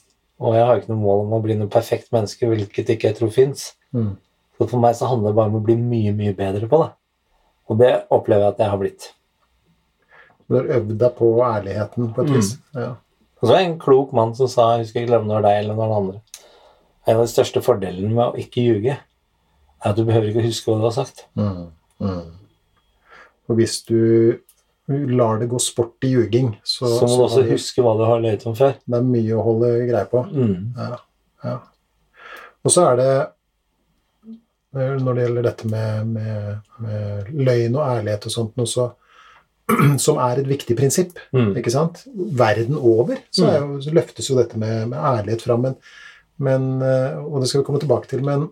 og jeg har ikke noe mål om å bli noe perfekt menneske, hvilket ikke jeg tror fins. Mhm. Så for meg så handler det bare om å bli mye, mye bedre på det. Og det opplever jeg at jeg har blitt. Du har øvd deg på ærligheten på et Mm. vis. Ja. Og så var det en klok mann som sa, jeg husker ikke om det var deg eller noen andre, en av de største fordelene med å ikke ljuge, er at du behøver ikke å huske hva du har sagt. Mm. Mm. Og hvis du lar det gå sport i ljuging, så, Så må du så også har du- huske hva du har løyet om før. det er mye å holde greie på. Mm. Ja, ja. Og så er det når det gjelder dette med, med, med løgn og ærlighet og sånt, noe så, (clears throat) som er et viktig prinsipp Mm. ikke sant? Verden over så, er jo, så løftes jo dette med, med ærlighet fram, men, men eh, Og det skal vi komme tilbake til, men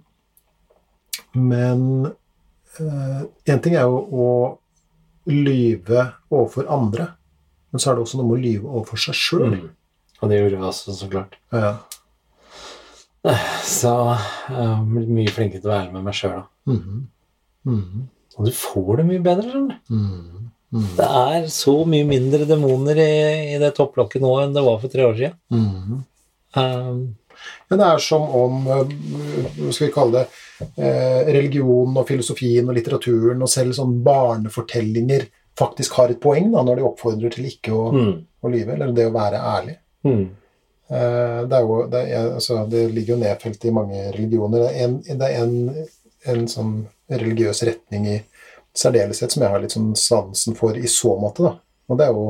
Men én ting er jo å lyve overfor andre, men så er det også noe med å lyve overfor seg sjøl. Mm. Og det gjorde jeg også, så klart. Ja. Så jeg har blitt mye flinkere til å være ærlig med meg sjøl. Mhm. Mhm. Og du får det mye bedre. skjønner du. Mhm. Mhm. Det er så mye mindre demoner i, i det topplokket nå enn det var for tre år siden. Mhm. Um, Men det er som om eh, hva skal vi kalle det, eh, religionen og filosofien og litteraturen og selv sånn barnefortellinger faktisk har et poeng da, når de oppfordrer til ikke å, mm, å lyve, eller det å være ærlig. mm, Eh, Det, er jo, det, er, altså, det ligger jo nedfelt i mange religioner. Det er en, det er en, en sånn religiøs retning i særdeleshet som jeg har litt sånn sansen for i så måte. Da. Og det er jo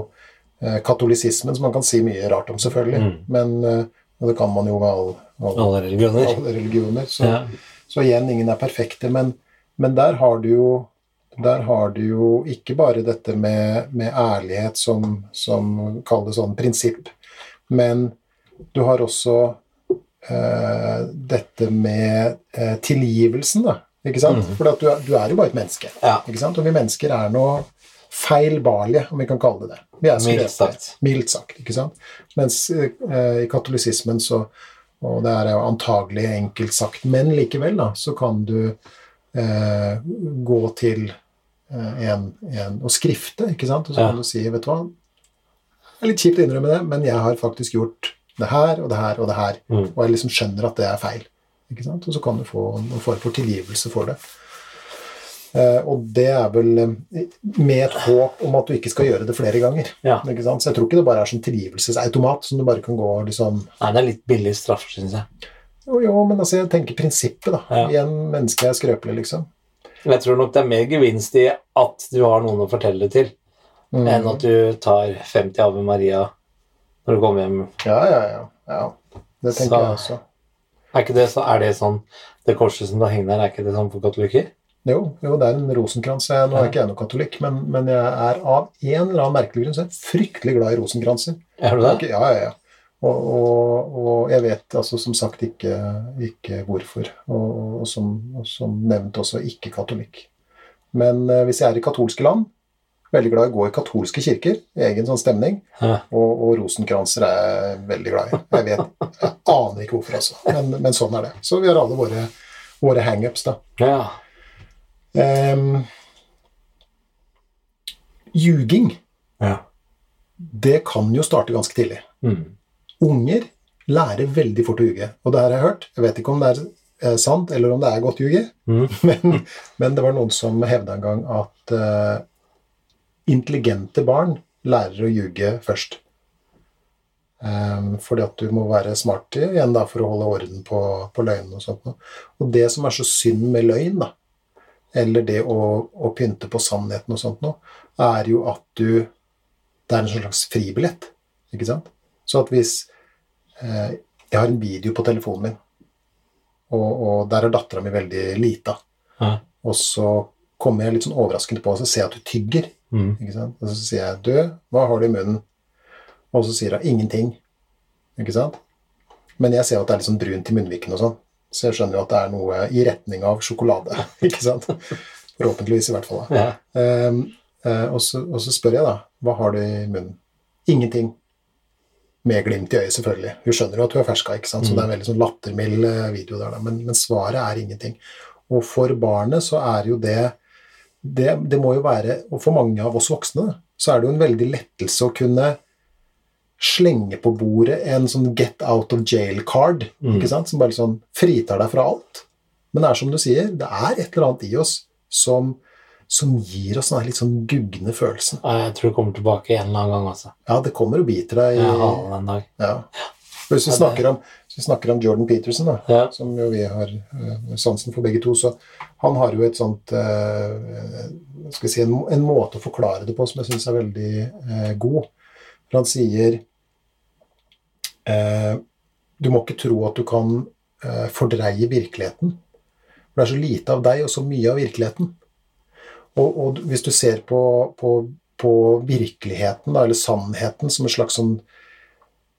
eh, katolisismen, som man kan si mye rart om, selvfølgelig. Mm. Men eh, og det kan man jo med all, all, alle religioner. alle religioner. Så, Ja. så igjen, ingen er perfekte, men, men der har du jo der har du jo ikke bare dette med, med ærlighet som, som Kall det sånn prinsipp, men du har også eh, dette med eh, tilgivelsen, da. Ikke sant? Mm. For at du, er- du er jo bare et menneske. Ja. Ikke sant? Og vi mennesker er nå feilbarlige, om vi kan kalle det det. Vi er Mildt skrøpelige. sagt. Mildt sagt, ikke sant? Mens eh, i katolisismen så Og det er jo antagelig enkelt sagt, men likevel, da, så kan du eh, gå til eh, en, en og skrifte, ikke sant? Og så Ja. kan du si, vet du hva Det er litt kjipt å innrømme det, men jeg har faktisk gjort det her og det her og det her. Mm. Og jeg liksom skjønner at det er feil. Ikke sant? Og så kan du få noen form for tilgivelse for det. Eh, og det er vel eh, med et håp om at du ikke skal gjøre det flere ganger. Ja. Ikke sant? Så jeg tror ikke det bare er sånn tilgivelsesautomat som du bare kan gå og liksom Nei, det er litt billig straff, syns jeg. Jo, jo, men altså, jeg tenker prinsippet, da. Ja. Igjen, mennesket er skrøpelig, liksom. Men jeg tror nok det er mer gevinst i at du har noen å fortelle det til, Mm. enn at du tar 50 Ave Maria når du kommer hjem. Ja, ja, ja. ja. Det tenker Så- jeg også. Er, ikke det, så, er det sånn Det korset som du har hengende her, er ikke det sånn for katolikker? Jo, jo, det er en rosenkrans. Jeg, nå Ja. er ikke jeg noen katolikk, men, men jeg er av en eller annen merkelig grunn så er jeg fryktelig glad i rosenkranser. Er du det? Ok, ja, ja, ja. Og, og, og jeg vet altså som sagt ikke, ikke hvorfor, og, og, som, og som nevnt også ikke katolikk. Men eh, hvis jeg er i katolske land, veldig glad i å gå i katolske kirker, egen sånn stemning, Ja. og, og rosenkranser er jeg veldig glad i. Jeg vet, jeg aner ikke hvorfor altså, men, men sånn er det. Så vi har alle våre, våre hang-ups da. Ja. Ehm, Ljuging, ja. det kan jo starte ganske tidlig. Mm. Unger lærer veldig fort å ljuge. Og det her har jeg hørt. Jeg vet ikke om det er eh, sant, eller om det er godt ljuge, Mm. (laughs) men, men det var noen som hevda en gang at eh, intelligente barn lærer å ljuge først. Ehm, fordi at du må være smart igjen da, for å holde orden på, på løgnen og sånt. noe. Og det som er så synd med løgn, da, eller det å, å pynte på sannheten og sånt noe, er jo at du Det er en slags fribillett, ikke sant? Så at hvis eh, Jeg har en video på telefonen min, og, og der er dattera mi veldig lita. Ja. Og så kommer jeg litt sånn overraskende på og så ser jeg at du tygger. Mm. Ikke sant? Og så sier jeg 'Du, hva har du i munnen?' Og så sier hun 'Ingenting'. Ikke sant? Men jeg ser jo at det er litt sånn brunt i munnviken og sånn. Så jeg skjønner jo at det er noe i retning av sjokolade. (laughs) Ikke sant? Forhåpentligvis, i hvert fall. da. ja. Ehm, eh, og, så, og så spør jeg da, hva har du i munnen? Ingenting. Med glimt i øyet, selvfølgelig. Hun skjønner jo at hun er ferska, ikke sant? så det er en veldig sånn lattermild eh, video der, da. Men, men svaret er ingenting. Og for barnet så er jo det, det Det må jo være Og for mange av oss voksne da, så er det jo en veldig lettelse å kunne slenge på bordet en sånn get out of jail card, ikke sant? som bare liksom sånn fritar deg fra alt. Men det er som du sier, det er et eller annet i oss som som gir oss den litt sånn gugne følelsen. Nei, Jeg tror det kommer tilbake en eller annen gang. altså. Ja, det kommer og biter deg i Jeg har den en dag. ja. Og Hvis vi Ja, det- snakker om, hvis vi snakker om Jordan Peterson, da, Ja. som jo vi har eh, sansen for begge to, så han har jo et sånt eh, skal vi si, en, en måte å forklare det på som jeg syns er veldig eh, god. For han sier eh, Du må ikke tro at du kan eh, fordreie virkeligheten. For det er så lite av deg og så mye av virkeligheten. Og, og du- hvis du ser på, på, på virkeligheten, da, eller sannheten, som en slags sånn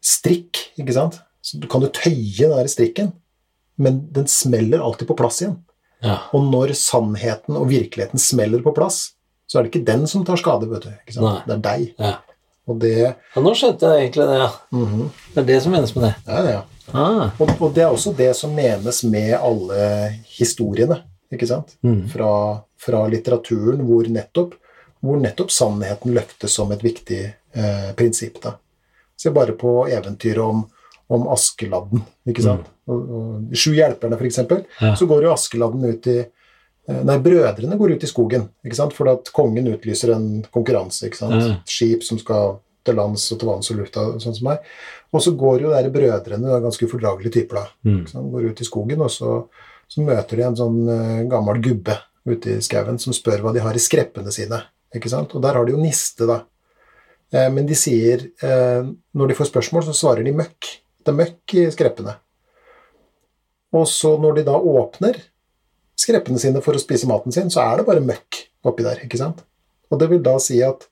strikk, ikke sant? Så du- kan du tøye den der strikken, men den smeller alltid på plass igjen. Ja. Og når sannheten og virkeligheten smeller på plass, så er det ikke den som tar skade, vet du. Ikke sant? Det er deg. Ja. Og det ja, nå skjønte jeg egentlig det. ja. Mhm. Det er det som menes med det. ja, ja, ja. Ah. Og, og det er også det som menes med alle historiene, ikke sant? Mhm. Fra, fra litteraturen hvor nettopp, hvor nettopp sannheten løftes som et viktig eh, prinsipp. Da. Se bare på eventyret om, om Askeladden. ikke sant? Og, og de Sju hjelperne, f.eks. Mm. Ja. Så går jo Askeladden ut i eh, Nei, brødrene går ut i skogen, ikke sant? fordi at kongen utlyser en konkurranse. ikke sant? Ja. Et Skip som skal til lands og til vanns og lufta, sånn som meg. Og så går jo de der brødrene, det er ganske ufordragelige typer, da. Mm. Så han går ut i skogen, og så, så møter de en sånn eh, gammel gubbe ute i skauen som spør hva de har i skreppene sine. Ikke sant? Og der har de jo niste, da. Eh, men de sier eh, Når de får spørsmål, så svarer de møkk. Det er møkk i skreppene. Og så når de da åpner skreppene sine for å spise maten sin, så er det bare møkk oppi der. ikke sant? Og det vil da si at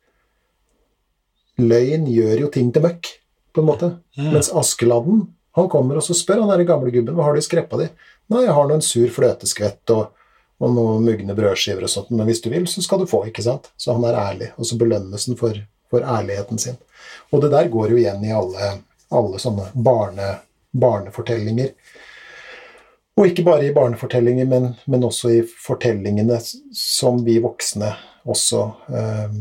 løgn gjør jo ting til møkk, på en måte. Ja. Mens Askeladden han kommer og så spør han der gamle gubben hva har du i skreppa di. Nei, jeg har nå en sur fløteskvett og, og noen mugne brødskiver og sånt, men hvis du vil, så skal du få, ikke sant? Så han er ærlig, og så belønnes han for, for ærligheten sin. Og det der går jo igjen i alle, alle sånne barne, barnefortellinger. Og ikke bare i barnefortellinger, men, men også i fortellingene s- som vi voksne også eh,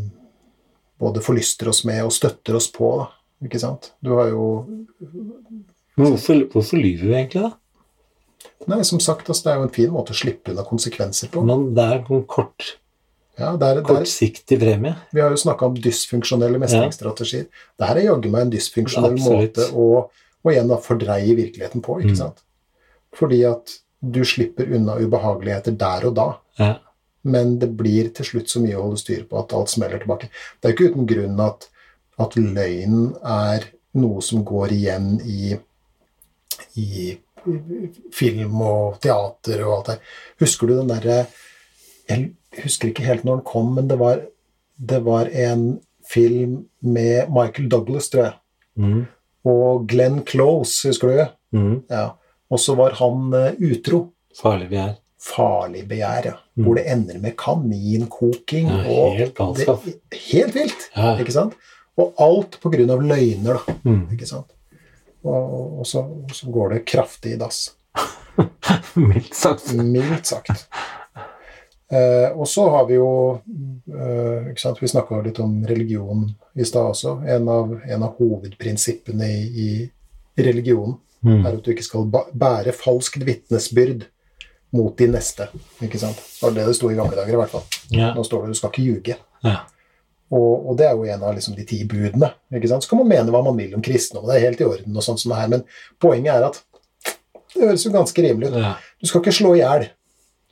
både forlyster oss med og støtter oss på. Da. Ikke sant? Du har jo Men hvorfor, hvorfor lyver vi egentlig, da? Nei, som sagt, altså, det er jo en fin måte å slippe unna konsekvenser på. Men det er en kort, Ja, det er, det er, kortsiktig premie. vi har jo snakka om dysfunksjonelle mestringsstrategier. Det her er jaggu meg en dysfunksjonell Absolutt. måte å, å igjen da fordreie virkeligheten på, ikke Mm. sant? Fordi at du slipper unna ubehageligheter der og da, Ja. men det blir til slutt så mye å holde styr på at alt smeller tilbake. Det er jo ikke uten grunn at, at løgnen er noe som går igjen i, i film og teater og alt det. Husker du den derre Jeg husker ikke helt når den kom, men det var, det var en film med Michael Douglas, tror jeg, Mm. og Glenn Close, husker du? Mm. Ja. Og så var han eh, utro Farlig vi er. farlig begjær, ja. Mm. Hvor det ender med kaninkoking Ja, og helt galskap. det- Helt vilt! Ja. Ikke sant? Og alt på grunn av løgner, da. Mm. Ikke sant? Og, og, så, og så går det kraftig i dass. Mildt sagt. (laughs) Mildt sagt. Eh, og så har vi jo eh, ikke sant? Vi snakka litt om religion i stad også. En av, en av hovedprinsippene i, i religionen Mm. er at du ikke skal ba- bære falskt vitnesbyrd mot de neste. Ikke sant? Det var det det sto i gamle dager, i hvert fall. Ja. Nå står det du skal ikke ljuge. Ja. Og, og det er jo en av liksom, de ti budene. Ikke sant? Så kan man mene hva man vil om kristne, og det er helt i orden, og sånt som det her, men poenget er at det høres jo ganske rimelig ut. Ja. Du skal ikke slå i hjel.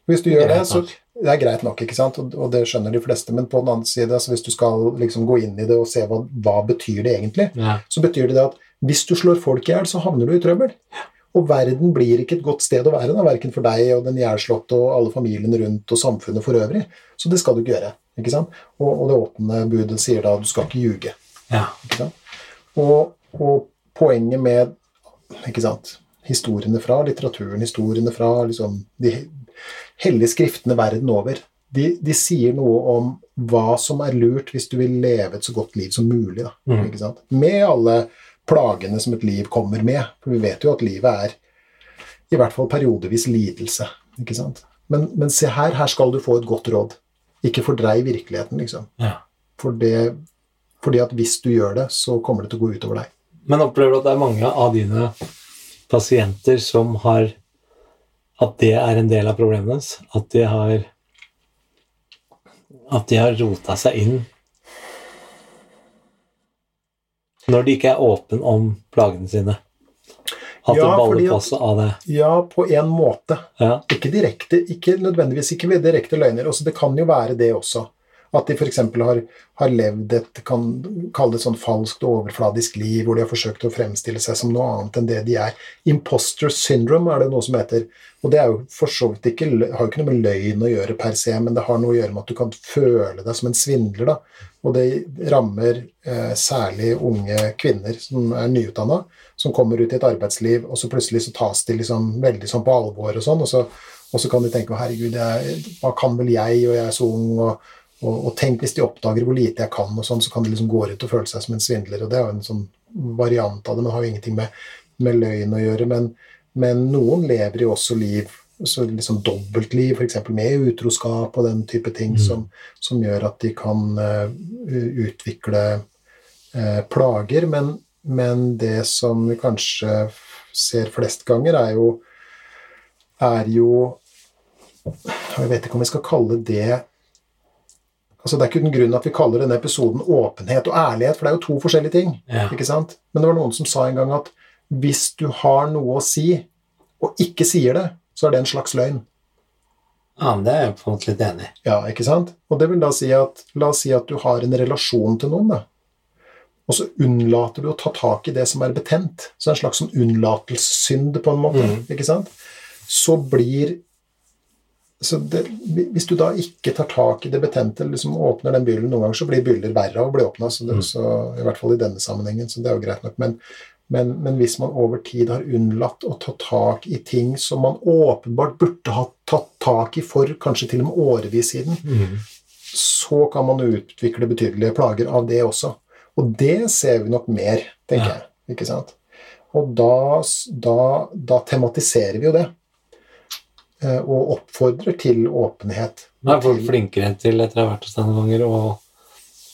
Hvis du gjør det, Greit så nok. det er greit nok, ikke sant? Og, og det skjønner de fleste. Men på den andre side, altså, hvis du skal liksom, gå inn i det og se hva, hva betyr det egentlig, Ja. så betyr det det at hvis du slår folk i hjel, så havner du i trøbbel. Og verden blir ikke et godt sted å være, da, verken for deg og den ihjelslåtte og alle familien rundt og samfunnet for øvrig. Så det skal du ikke gjøre. ikke sant? Og, og det åpne budet sier da at du skal ikke ljuge. Ja. ikke sant? Og, og poenget med ikke sant, historiene fra litteraturen, historiene fra liksom, de hellige skriftene verden over, de, de sier noe om hva som er lurt hvis du vil leve et så godt liv som mulig. Da, Mm. ikke sant? Med alle plagene som et liv kommer med. For vi vet jo at livet er i hvert fall periodevis lidelse. ikke sant? Men, men se her, her skal du få et godt råd. Ikke fordrei virkeligheten, liksom. Ja. For det, fordi at hvis du gjør det, så kommer det til å gå utover deg. Men opplever du at det er mange av dine pasienter som har At det er en del av problemet deres? At de har at de har rota seg inn Når de ikke er åpne om plagene sine. At det Ja, baller fordi at- på seg av det. Ja, på en måte. Ja. Ikke direkte, ikke nødvendigvis ikke ved direkte løgner. Også, det kan jo være det også. At de f.eks. Har, har levd et kan kalle det et sånn falskt og overfladisk liv, hvor de har forsøkt å fremstille seg som noe annet enn det de er. Imposter syndrome er det noe som heter. Og det er jo for så vidt ikke, lø- har jo ikke noe med løgn å gjøre per se, men det har noe å gjøre med at du kan føle deg som en svindler. da. Og det rammer eh, særlig unge kvinner som er nyutdanna, som kommer ut i et arbeidsliv, og så plutselig så tas de liksom veldig sånn på alvor og sånn, og så, og så kan de tenke «Å, herregud, jeg, hva kan vel jeg, og jeg er så ung, og, og, og tenk hvis de oppdager hvor lite jeg kan, og sånn, så kan de liksom gå rundt og føle seg som en svindler, og det er jo en sånn variant av det, men har jo ingenting med, med løgn å gjøre, men, men noen lever jo også liv, så liksom dobbeltliv, for eksempel med utroskap og den type ting som, som gjør at de kan eh, utvikle eh, plager, men, men det som vi kanskje f- ser flest ganger, er jo, er jo Jeg vet ikke om vi skal kalle det altså Det er ikke uten grunn at vi kaller denne episoden åpenhet og ærlighet, for det er jo to forskjellige ting. Ja. ikke sant? Men det var noen som sa en gang at hvis du har noe å si, og ikke sier det, så er det en slags løgn. ja, men det er jeg på en måte litt enig i. Ja, ikke sant? Og det vil da si at La oss si at du har en relasjon til noen, da. Og så unnlater du å ta tak i det som er betent. Så det er en slags sånn unnlatelsessynd, på en måte. ikke sant? Så blir så det, Hvis du da ikke tar tak i det betente, liksom åpner den byllen noen ganger, så blir byller verre av å bli åpna. I hvert fall i denne sammenhengen, så det er jo greit nok. Men, men, men hvis man over tid har unnlatt å ta tak i ting som man åpenbart burde ha tatt tak i for kanskje til og med årevis siden, så kan man jo utvikle betydelige plager av det også. Og det ser vi nok mer, tenker jeg. Ikke sant? Og da, s- da, da tematiserer vi jo det. eh, Og oppfordrer til åpenhet. Men er folk flinkere til etter å ha vært hos deg noen ganger å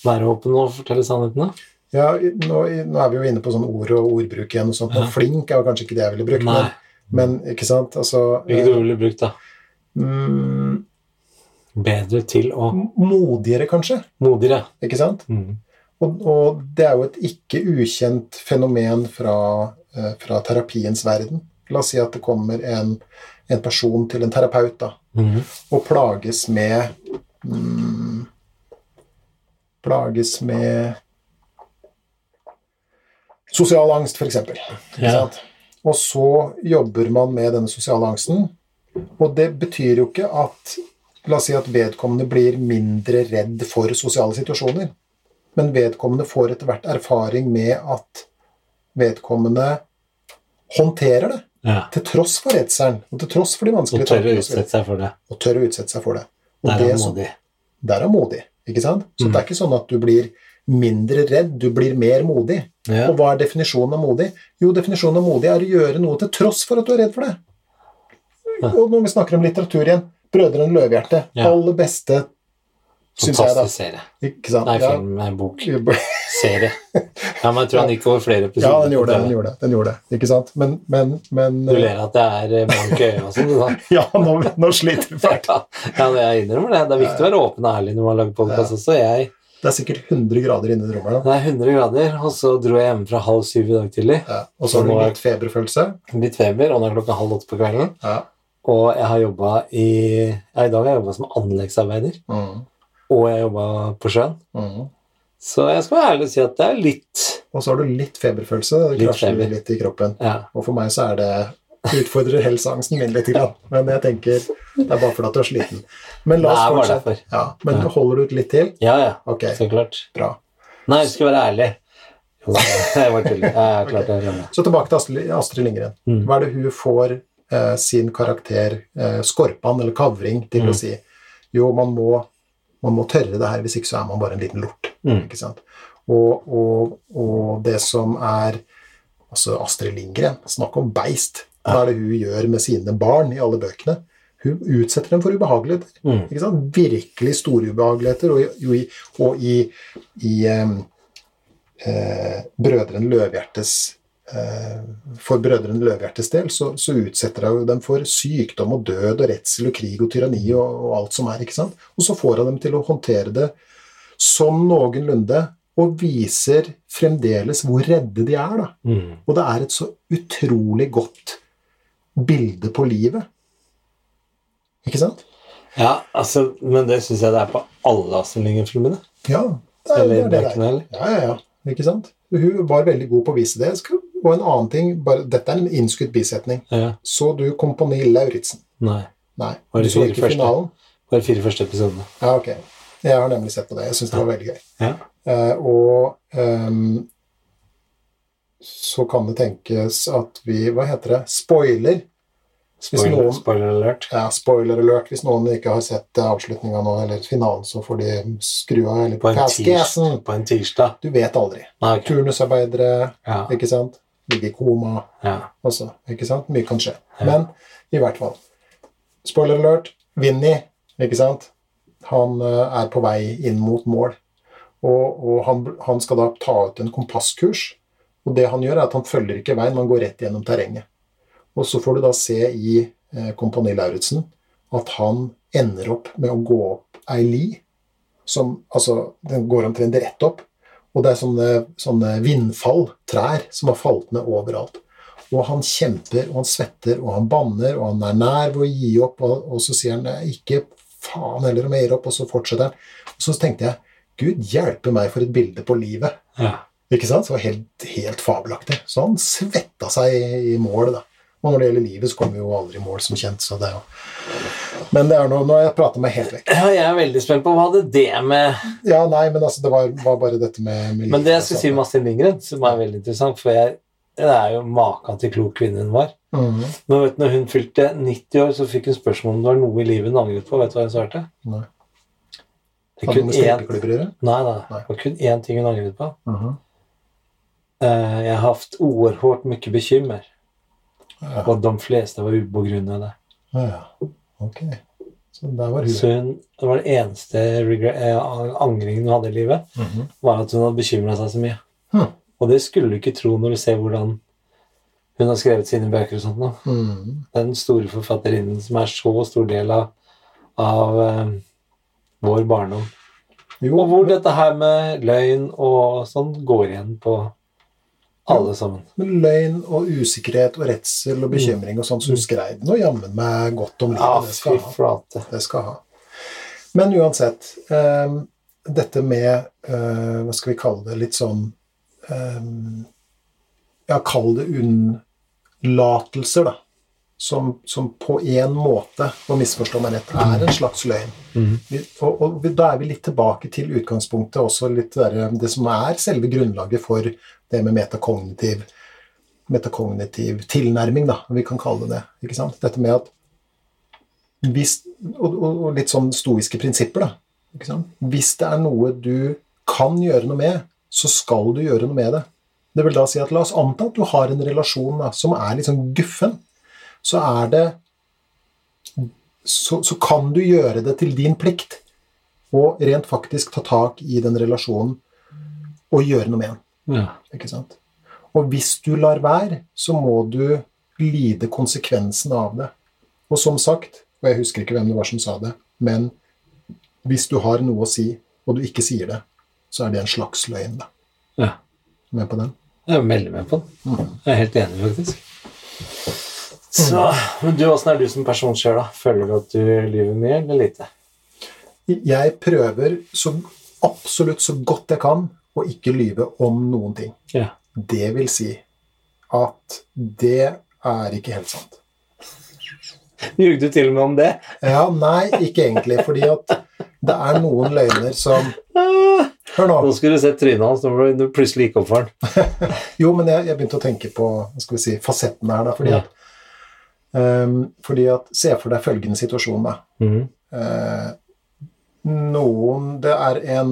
være åpen og fortelle sannheten? da? Ja, i- nå, i- nå er vi jo inne på sånn ord og ordbruk igjen. og sånt. Ja. Og flink er jo kanskje ikke det jeg ville brukt, Nei. men, men ikke sant altså, Hvilket ord ville du brukt, da? mm, Bedre til og Modigere, kanskje. modigere. Ikke sant? Mm. Og, og det er jo et ikke ukjent fenomen fra, eh, fra terapiens verden. La oss si at det kommer en, en person til en terapeut da, Mhm. og plages med mm, Plages med sosial angst, f.eks. Ja. Og så jobber man med denne sosiale angsten. Og det betyr jo ikke at La oss si at vedkommende blir mindre redd for sosiale situasjoner. Men vedkommende får etter hvert erfaring med at vedkommende håndterer det. ja. Til tross for redselen, og til tross for de Og vanskelige tørre å tankene og så videre. utsette seg for det. Og tør å utsette seg for det. Og Der er det som- modig. der er modig, ikke sant? Så Mm. det er ikke sånn at du blir mindre redd, du blir mer modig. Ja. Og hva er definisjonen av modig? Jo, definisjonen av modig er å gjøre noe til tross for at du er redd for det. Ja. Og når vi snakker om litteratur igjen, 'Brødrene Løvehjerte', Ja. aller beste, syns jeg, da. Fantastisk serie. Ikke sant? Nei, Ja. (laughs) film, nei, bok. Serie. Ja, men jeg tror han gikk over flere Ja, episoder. den gjorde det. Den gjorde det, den gjorde det ikke sant? Men, men, men Du ler at det er eh, blank i øya og sånn. du, da. (laughs) Ja, nå, nå sliter vi fælt. Ja, men jeg innrømmer det. Det er viktig å være åpen og ærlig når man lager podkast også. Jeg, Det er sikkert 100 grader inne i det rommet. da. det er 100 grader, og så dro jeg hjemmefra halv syv i dag tidlig. Ja. Og så har du litt feberfølelse. Litt feber, og nå er klokka halv åtte på kvelden. Ja. Og jeg har jobba i ja, I dag har jeg jobba som anleggsarbeider, Mm. og jeg jobba på sjøen. Mm. Så jeg skal være ærlig og si at det er litt Og så har du litt feberfølelse. Det Litt krasjer feber. litt i kroppen. ja. Og for meg så er det utfordrer helseangsten min litt. Grann. Men jeg tenker det er bare fordi at du er sliten. Men la Det er oss bare fortsette. derfor. Ja, men Ja. holder du ut litt til? ja, ja. Ok, Så klart. bra. Nei, du skal være ærlig. Jo, jeg var tulling. Ja, jeg klarte det. jeg Så tilbake til Astrid, Astrid Lindgren. Mm. Hva er det hun får eh, sin karakter eh, Skorpan eller Kavring til Mm. å si? Jo, man må, man må tørre det her, hvis ikke så er man bare en liten lort. Mm. Ikke sant? Og, og, og det som er altså Astrid Lindgren, snakk om beist. Hva er det hun gjør med sine barn i alle bøkene? Hun utsetter dem for ubehageligheter. Mm. Ikke sant? Virkelig store ubehageligheter. Og, i- jo, i, og i, i em, eh, Brødrene Eh, Løvhjertes eh, for brødrene Løvhjertes del, så, så utsetter jeg jo dem for sykdom og død og redsel og krig og tyranni og, og alt som er. ikke sant? Og så får jeg dem til å håndtere det sånn noenlunde, og viser fremdeles hvor redde de er. da. Mm. Og det er et så utrolig godt bilde på livet. Ikke sant? Ja, altså, men det syns jeg det er på alle Astrid Lindgren-filmene. Ja, det er det Eller er det det er. Bacon eller? Ja, ja, ja. Ikke sant? Hun var veldig god på å vise det. Og en annen ting bare, Dette er en innskutt bisetning. Ja. Så du Kompani Lauritzen? Nei. Nei. Var Du det så fire ikke første? finalen? Bare fire første episodene. Ja, ok. Jeg har nemlig sett på det. Jeg syns det var veldig gøy. Ja. Eh, og ehm, så kan det tenkes at vi Hva heter det? Spoiler. Hvis Spoiler, noen spoiler alert. ja, spoiler alert. Hvis noen ikke har sett avslutninga nå, eller finalen, så får de skru av eller På en, pass tirs gassen. på en tirsdag. Du vet aldri. Nei, ok. Turnusarbeidere, ja. ikke sant? Ligger i koma ja. også, ikke sant? Mye kan skje. Ja. Men i hvert fall. Spoiler alert. Vinni, ikke sant? Han eh, er på vei inn mot mål. Og, og han, han skal da ta ut en kompasskurs. Og det han gjør, er at han følger ikke veien, man går rett gjennom terrenget. Og så får du da se i eh, Kompani Lauritzen at han ender opp med å gå opp ei li som altså, den går omtrent rett opp. Og det er sånne, sånne vindfall, trær, som har falt ned overalt. Og han kjemper, og han svetter, og han banner, og han er nær ved å gi opp, og, og så sier han «Nei, ikke faen heller om jeg gir opp, og så fortsetter han. Og så tenkte jeg Gud hjelpe meg for et bilde på livet. ja. Ikke sant? Så det var helt, helt fabelaktig. Så han svetta seg i, i mål, da. Og når det gjelder livet, så kommer vi jo aldri i mål, som kjent. Så det er jo... Men det er nå Nå har jeg prata meg helt vekk. Ja, Jeg er veldig spent på hva hadde det med Ja, nei, men altså, det var, var bare dette med, Men det med jeg livet, altså. skulle si med Astrid Lindgren, som er veldig interessant For jeg, det er jo maken til klok kvinne hun var. Mhm. Men vet du, når hun fylte 90 år, så fikk hun spørsmål om det var noe i livet hun angret på. Vet du hva hun svarte? Nei. Det er Hadde noe kun én, med stripeklubber å gjøre? nei, nei, Nei. det var kun én ting hun angret på. Eh, jeg har hatt oerhört mycket bekymmer. Ja. Og de fleste var ubegrunnet. Ja, ja. Ok. Så der var hun. Så hun, det var det eneste regre- eh, angringen hun hadde i livet, Mhm. var at hun hadde bekymra seg så mye. Hm. Og det skulle du ikke tro når du ser hvordan hun har skrevet sine bøker og sånt nå. Mhm. Den store forfatterinnen som er så stor del av, av eh, vår barndom. Jo, Og hvor dette her med løgn og sånn går igjen på alle sammen. men løgn og usikkerhet og redsel og bekymring og sånn, så hun skrev den og jammen meg godt om Mm. Ja, livet. fy Det skal ha. flate. Det skal ha. Men uansett, ehm, dette med eh, Hva skal vi kalle det? Litt sånn ehm, Ja, kall det unnlatelser, da. Som, som på en måte, og misforstå meg rett, er en slags løgn. Vi, og, og vi- da er vi litt tilbake til utgangspunktet, også litt det der, det som er selve grunnlaget for det med metakognitiv, metakognitiv tilnærming, da, om vi kan kalle det det. Ikke sant? Dette med at hvis, og, og, og litt sånn stoiske prinsipper, da. Ikke sant? Hvis det er noe du kan gjøre noe med, så skal du gjøre noe med det. Det vil da si at la oss anta at du har en relasjon da, som er litt sånn guffen. Så er det så, så kan du gjøre det til din plikt å rent faktisk ta tak i den relasjonen og gjøre noe med den. Ja. Ikke sant? Og hvis du lar være, så må du lide konsekvensen av det. Og som sagt, og jeg husker ikke hvem det var som sa det, men hvis du har noe å si, og du ikke sier det, så er det en slags løgn, da. ja. Med på den? Jeg er veldig med på den. Jeg er helt enig, faktisk. Så, men du, Åssen er du som person sjøl? da? Føler du at du lyver mye eller lite? Jeg prøver så absolutt så godt jeg kan å ikke lyve om noen ting. Ja. Det vil si at det er ikke helt sant. Ljug du til og med om det? Ja, nei, ikke egentlig, fordi at det er noen løgner som Ah, Hør nå. Nå skulle du sett trynet hans når du plutselig gikk opp for den. Jo, men jeg, jeg begynte å tenke på hva skal vi si, fasettene her, da. Fordi Ja. at, ehm, fordi at Se for deg følgende situasjon, da. Mhm. Eh, noen Det er en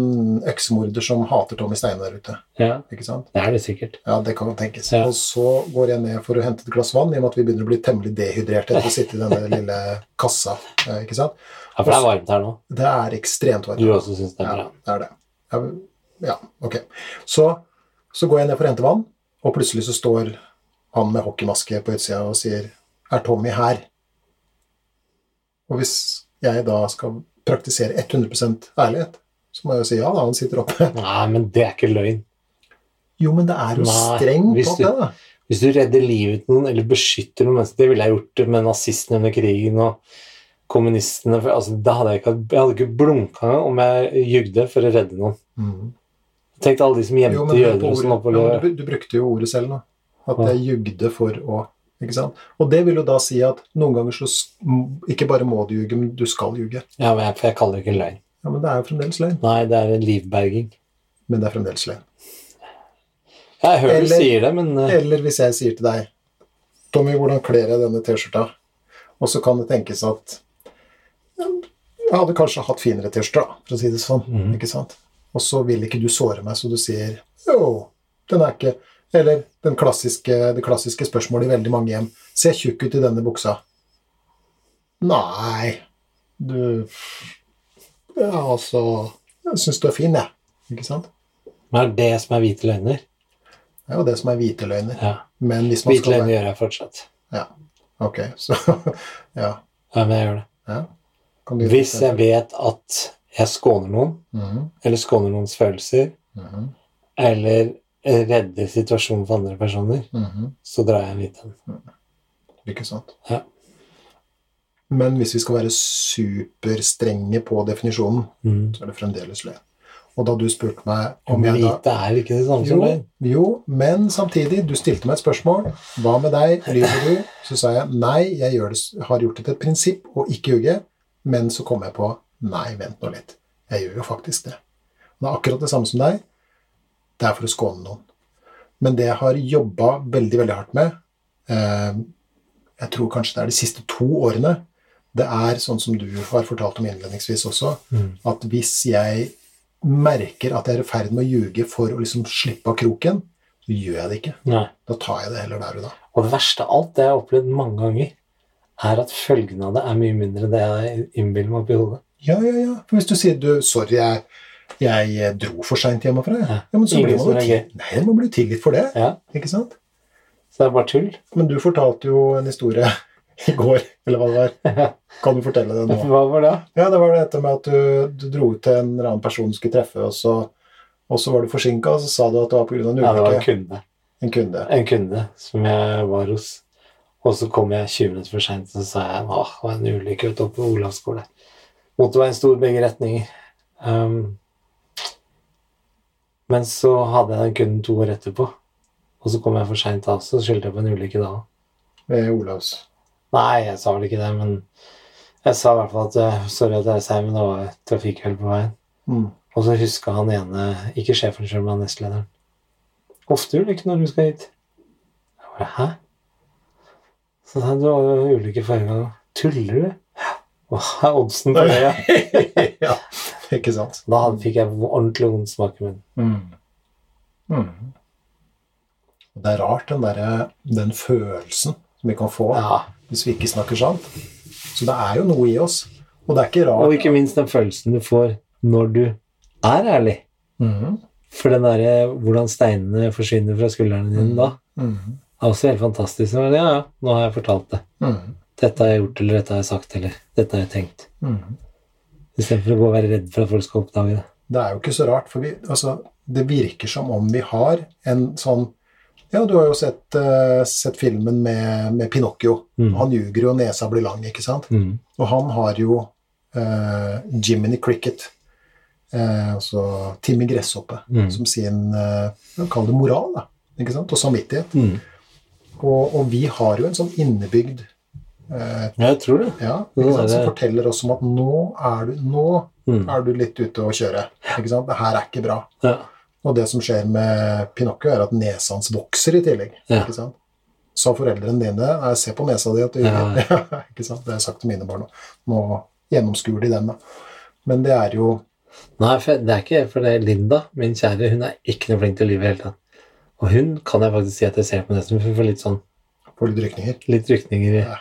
øksemorder som hater Tommy Steine der ute. Ja, Ikke sant? det er det sikkert. Ja, det kan jo tenkes. Ja. Og så går jeg ned for å hente et glass vann, i og med at vi begynner å bli temmelig dehydrerte etter å sitte (laughs) i denne lille kassa. eh, Ikke sant? Ja, For det er varmt her nå. Det er ekstremt varmt. Du også syns det er Ja, bra. det er det. Ja, men- ja ok. Så, så går jeg ned for å hente vann, Og plutselig så står han med hockeymaske på utsida og sier 'Er Tommy her?' Og hvis jeg da skal praktisere 100 ærlighet, så må jeg jo si ja da, han sitter oppe. (laughs) Nei, men det er ikke løgn. Jo, men det er jo Nei, strengt hvis opp, du- det, da. Hvis du redder livet til noen, eller beskytter noen mennesker Det ville jeg gjort med nazistene under krigen og kommunistene for, altså, Da hadde jeg ikke, jeg hadde ikke blunka engang om jeg jugde for å redde noen. Tenk deg alle de som Mm. Jo, gjemte men jøder på og sånn ordet- oppover. ja, men du, du brukte jo ordet selv nå. At Ja. jeg jugde for å ikke sant? Og det vil jo da si at noen ganger så s- m- ikke bare må du ljuge, men du skal ljuge. Ja, men jeg, for jeg kaller det ikke løgn. Ja, Men det er jo fremdeles løgn. Nei, det er en livberging. Men det er fremdeles løgn. Jeg hører Eller- du sier det, men eh, Eller hvis jeg sier til deg Tommy, hvordan kler jeg denne T-skjorta? Og så kan det tenkes at ja, jeg hadde kanskje hatt finere T-skjorter, da, for å si det sånn. Mhm. ikke sant? Og så vil ikke du såre meg, så du sier jo, den er ikke Eller den klassiske, det klassiske spørsmålet i veldig mange hjem Ser tjukk ut i denne buksa. Nei, du Ja, altså Jeg syns du er fin, jeg. Ikke sant? det er det som er hvite løgner. Det er jo det som er hvite løgner. Ja. Men hvis man Hvite skal være løgner gjør jeg fortsatt. Ja, ok. (laughs) Så, ja, Ja, men jeg gjør det. ja. Kan du- Hvis jeg vet at jeg skåner noen, Mhm, eller skåner noens følelser, mhm, eller eh, redder situasjonen for andre personer, mhm. så drar jeg en hvit en. Ikke sant. Ja. Men hvis vi skal være superstrenge på definisjonen, Mm. så er det fremdeles løgn. Og da du spurte meg om Men jeg da hvite er ikke det samme som jo, løgn. jo, men samtidig, du stilte meg et spørsmål. Hva med deg? Lyver du? Så sa jeg nei, jeg gjør det, s- har gjort det til et prinsipp å ikke ljuge. Men så kom jeg på nei, vent nå litt. Jeg gjør jo faktisk det. Det er akkurat det samme som deg. Det er for å skåne noen. Men det jeg har jobba veldig, veldig hardt med, eh, jeg tror kanskje det er de siste to årene, det er sånn som du har fortalt om innledningsvis også, Mm. at hvis jeg merker at jeg er i ferd med å ljuge for å liksom slippe av kroken, så gjør jeg det ikke. Nei. Da tar jeg det heller der og da. Og det verste av alt, det jeg har opplevd mange ganger, er at følgene av det er mye mindre enn det jeg innbiller meg oppi hodet. Ja, ja, ja. For hvis du sier du, 'sorry, jeg, jeg eh, dro for seint hjemmefra', ja. Ja. ja, men så Ingen blir som man jo reagerer. til- Nei, man blir jo tilgitt for det, Ja, ikke sant? så det er bare tull. Men du fortalte jo en historie (laughs) i går, eller hva det (laughs) var. Kan du fortelle det nå? Hva var det? Ja, det var dette med at du, du dro ut til en eller annen person du skulle treffe, og så, og så var du forsinka, og så sa du at det var pga. en Ja, det var en ulykke. kunde. En kunde. en kunde som jeg var hos. Og så kom jeg 20 minutter for seint, og så sa jeg at det var en ulykke ute oppe på Olavs skole. Motorveien sto i begge retninger. Um, men så hadde jeg den kunden to år etterpå, og så kom jeg for seint da også, og skyldte jeg på en ulykke da òg. Ved Olavs. Nei, jeg sa vel ikke det, men jeg sa i hvert fall at eh, sorry at jeg er sein, men det var et trafikkuhell på veien. Mm. Og så huska han ene, ikke sjefen sjøl, men nestlederen. Ofte ulykker når du skal hit. Jeg bare, Hæ? Så sa han, det var jo ulykke forrige gang. Tuller du? Hva er oddsen på det? (laughs) ja?» ja, ikke sant? Da hadde- fikk jeg ordentlig vond smak i munnen. Mm. Mm. Det er rart, den, derre- den følelsen som vi kan få Ja. hvis vi ikke snakker sant. Så det er jo noe i oss. Og det er ikke rart. Og ikke minst den følelsen du får når du er ærlig. Mhm. For den derre hvordan steinene forsvinner fra skuldrene dine da, Mhm. er også helt fantastisk. Men ja, ja, nå har jeg fortalt det. Mhm. Dette har jeg gjort, eller dette har jeg sagt, eller dette har jeg tenkt. Mhm. Istedenfor å gå og være redd for at folk skal oppdage det. Det er jo ikke så rart, for vi, altså, det virker som om vi har en sånn Ja, du har jo sett, eh, sett filmen med, med Pinocchio. Mm. Han ljuger jo, og nesa blir lang, ikke sant? Mm. Og han har jo eh, Jiminy Cricket, eh, altså Timmy Gresshoppe, Mm. som sin eh, Kall det moral, da. Ikke sant? Og samvittighet. Mm. Og, og vi har jo en sånn innebygd Ja, jeg tror det. ja, Nå ikke er sant? som det- forteller oss om at nå er du, nå Mm. er du litt ute å kjøre. Ikke sant? Det her er ikke bra. Ja. Og det som skjer med Pinocchio, er at nesa hans vokser i tillegg. Ja. ikke sant? Sa foreldrene dine Nei, 'se på nesa di'. at du Ja. (laughs) ikke sant? Det har jeg sagt til mine barn. og Nå gjennomskuer de den. da. Men det er jo Nei, for det er ikke for det er Linda, min kjære, hun er ikke noe flink til å lyve i det hele tatt. Og hun kan jeg faktisk si at jeg ser på nesten, for hun får litt sånn Får litt rykninger. litt rykninger i Ja.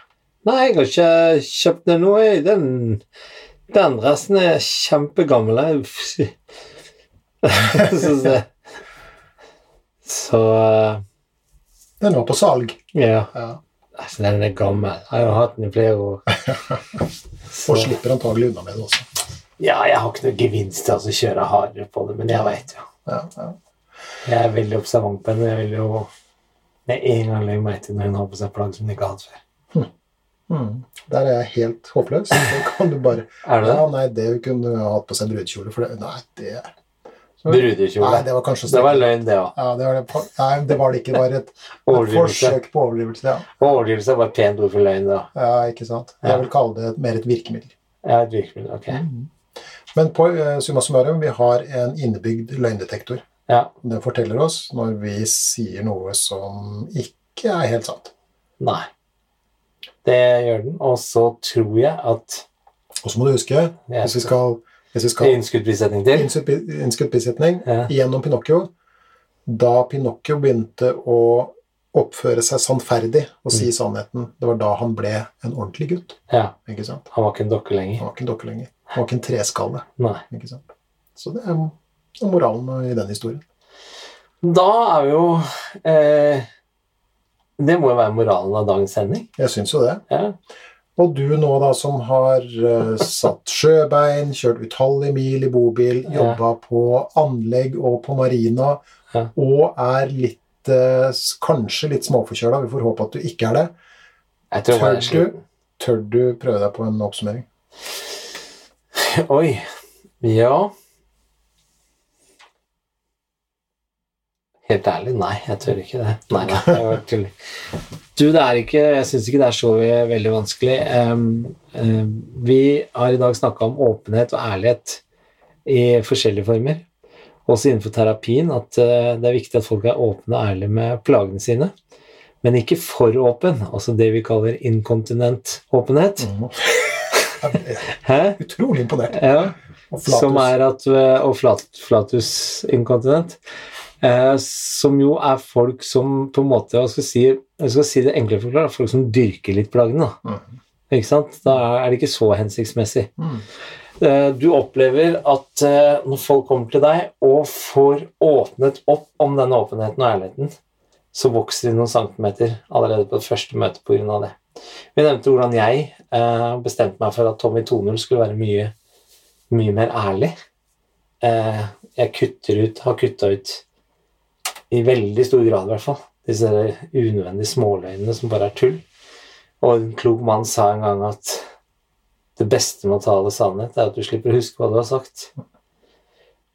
Nei, jeg har ikke kjøpt den nå, jeg. Den, den dressen er kjempegammel. Jeg. (laughs) Uff, sy. så, så, så Den var på salg. eh, Ja. Ja. Altså, den er gammel. Jeg har jo hatt den i flere (laughs) år. Så, Og slipper antagelig unna med det også. ja, jeg har ikke noe gevinst til å altså, kjøre hardere på det, men jeg vet jo. Ja, ja. Jeg er veldig observant på henne. Jeg vil jo med en gang legge merke til når hun har på seg plagg som hun ikke har hatt før. Mm. Der er jeg helt (laughs) håpløs. Det kan du bare Hmm. Er det Ja, det? nei, det kunne jeg hatt på seg brudekjole, for det Nei, det Nei, Brudekjole. det var kanskje Det var løgn, det òg. Ja, det var det. Nei, det var det ikke. Det var et, et Overdrivelse. forsøk på overdrivelse. Ja. Overdrivelse er bare et pent ord for løgn, da. ja, ikke sant. Jeg vil kalle det mer et virkemiddel. Jeg har et virkemiddel. Ok. Mm. Men på eh, summa summarum, vi har en innebygd løgndetektor. Ja. Den forteller oss når vi sier noe som ikke er helt sant, Nei. Det gjør den. Og så tror jeg at Og så må du huske, Ja. hvis vi skal, hvis vi Det er skal innskudd bisetning til. innskutt bi- innskutt bisetning Ja. gjennom Pinocchio Da Pinocchio begynte å oppføre seg sannferdig og Mm. si sannheten, det var da han ble en ordentlig gutt. Ja. ikke sant? Han var ikke en dokke lenger. Han var ikke en dokke lenger. Han var ikke en treskalle. Nei. ikke sant? Så det er jo moralen i den historien. Da er vi jo eh, Det må jo være moralen av dagens sending. Jeg syns jo det. Ja. Og du nå, da, som har eh, satt sjøbein, kjørt utallige mil i bobil, Ja. jobba på anlegg og på marina, Ja. og er litt eh, s- Kanskje litt småforkjøla, vi får håpe at du ikke er det. Jeg tror Tør bare jeg er sliten. du, tør du prøve deg på (laughs) en oppsummering? Oi. Ja Helt ærlig, nei, jeg tør ikke det. Nei, nei, jeg var tull. Du, det er ikke Jeg syns ikke det er så ve- veldig vanskelig. Em, em, vi har i dag snakka om åpenhet og ærlighet i forskjellige former. Også innenfor terapien at eh, det er viktig at folk er åpne og ærlige med plagene sine. Men ikke for åpen, altså det vi kaller inkontinent åpenhet. Jeg er Hæ? utrolig imponert. Ja. Og Som er at, eh, og flat, flatus inkontinent, eh, som jo er folk som på en måte Jeg skal si, jeg skal si det enklere forklart, folk som dyrker litt plaggene. Da. Mhm. Ikke sant? Da er det ikke så hensiktsmessig. Mhm. Eh, Du opplever at eh, når folk kommer til deg og får åpnet opp om denne åpenheten og ærligheten, så vokser de noen centimeter allerede på det første møtet pga. det. Vi nevnte hvordan jeg eh, bestemte meg for at Tommy 2.0 skulle være mye, mye mer ærlig. Eh, jeg kutter ut, har kutta ut i veldig stor grad, i hvert fall, disse der unødvendige småløgnene som bare er tull. Og en klok mann sa en gang at det beste med å tale sannhet er at du slipper å huske hva du har sagt.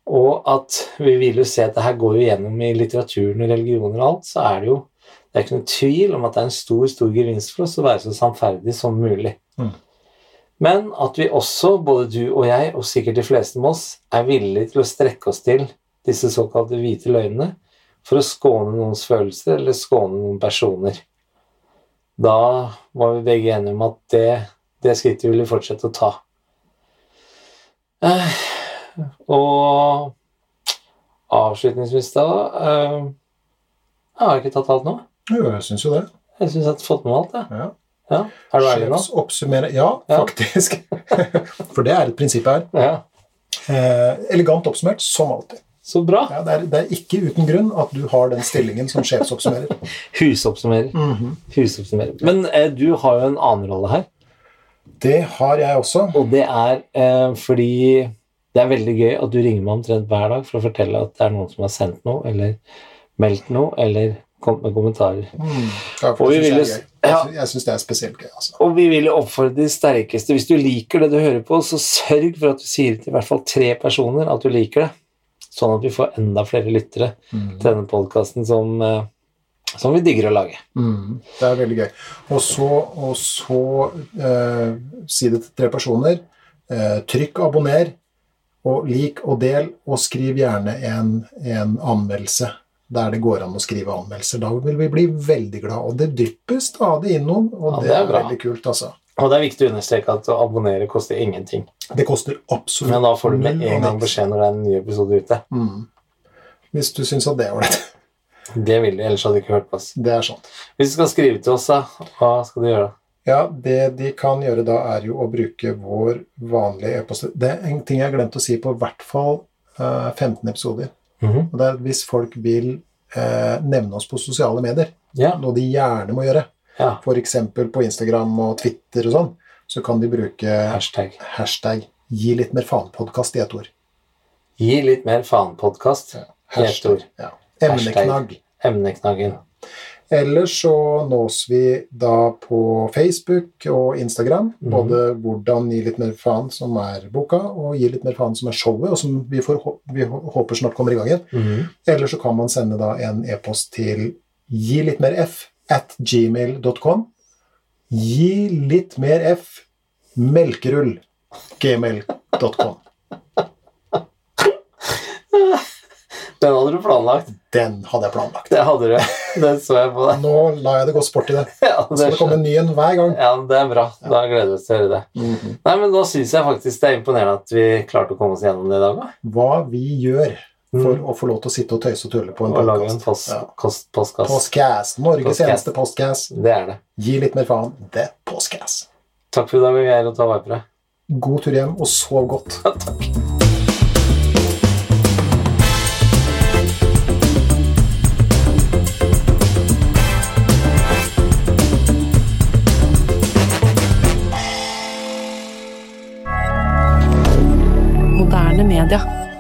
Og at vi vil jo se at det her går jo gjennom i litteraturen og religioner og alt, så er det jo det er ikke noen tvil om at det er en stor, stor gevinst for oss å være så sannferdig som mulig. Mm. Men at vi også, både du og jeg, og sikkert de fleste med oss, er villige til å strekke oss til disse såkalte hvite løgnene for å skåne noens følelser eller skåne noen personer. Da var vi begge enige om at det, det skrittet ville vi fortsette å ta. Eh, og avslutningsvis da eh, Jeg har ikke tatt alt nå. Jo, jeg syns jo det. Jeg syns jeg har fått med meg alt. Jeg. Ja. Ja. Er du ærlig nå? Sjefsoppsummere- Ja, Ja. faktisk. (laughs) For det er et prinsipp her. Ja. Eh, elegant oppsummert, som alltid. Så bra. Ja, det, er, det er ikke uten grunn at du har den stillingen som sjefsoppsummerer. Husoppsummerer. Husoppsummerer. Men eh, du har jo en annen rolle her. Det har jeg også. Og det er eh, fordi det er veldig gøy at du ringer meg omtrent hver dag for å fortelle at det er noen som har sendt noe, eller meldt noe, eller kommet med kommentarer. Ja, Mm. Og for vi det ville synes s- jeg er gøy. Jeg ja. sy- Jeg syns det er spesielt gøy. Altså. Og vi vil jo oppfordre de sterkeste. Hvis du liker det du hører på, så sørg for at du sier til i hvert fall tre personer at du liker det, sånn at vi får enda flere lyttere til denne podkasten som, eh, som vi digger å lage. Mm. Det er veldig gøy. Og så, og så eh, si det til tre personer. Eh, trykk 'abonner', og lik og del, og skriv gjerne en, en anmeldelse der det går an å skrive anmeldelser. Da vil vi bli veldig glad. Og det drypper stadig inn noen, Ja, og det, det er er bra. veldig kult, altså. Og det er viktig å understreke at å abonnere koster ingenting. Det koster absolutt Men da får du med null og en gang niks. beskjed når det er en ny episode ute. Mm. Hvis du syns at det er ålreit. (laughs) Det vil du, ellers hadde du ikke hørt på oss. Det er sant. Hvis du skal skrive til oss, da, hva skal du gjøre da? Ja, det de kan gjøre da, er jo å bruke vår vanlige e-post. Det er en ting jeg har glemt å si på i hvert fall eh, 15 episoder. Mhm. Og det er at hvis folk vil eh, nevne oss på sosiale medier. Ja. Noe de gjerne må gjøre. ja. F.eks. på Instagram og Twitter og sånn. Så kan de bruke Hashtag. hashtag 'gi litt mer faen-podkast' i ett ord. Gi litt mer faen-podkast. Hashtag, ord. Ja. Emneknagg. Emneknaggen. Ellers så nås vi da på Facebook og Instagram. Både 'Hvordan gi litt mer faen', som er boka, og 'Gi litt mer faen', som er showet, og som vi, får, hå- vi hå- håper snart kommer i gang igjen. Mhm. Eller så kan man sende da en e-post til gi litt mer f at gmail.com. Gi litt mer f melkerull gmail.com. Den hadde du planlagt. Den hadde jeg planlagt. (laughs) Det hadde du. Den så jeg på deg. Nå la jeg det gå sport i det. (laughs) Ja, det, Nå skal det komme en ny en hver gang. ja, det er bra. Da gleder vi oss til å høre det. Nei, men Da syns jeg faktisk det er imponerende at vi klarte å komme oss gjennom det i dag. da. Hva vi gjør for Mm. å få lov til å sitte og tøyse og tulle på en Og lage en podcast. post, Ja. kost, postkast. Postcast. Norges Postcast. eneste postcast. Det er det. Gi litt mer faen. Det er postcast. Takk for i dag, Geir, og ta vare på deg. God tur hjem, og sov godt. Moderne media.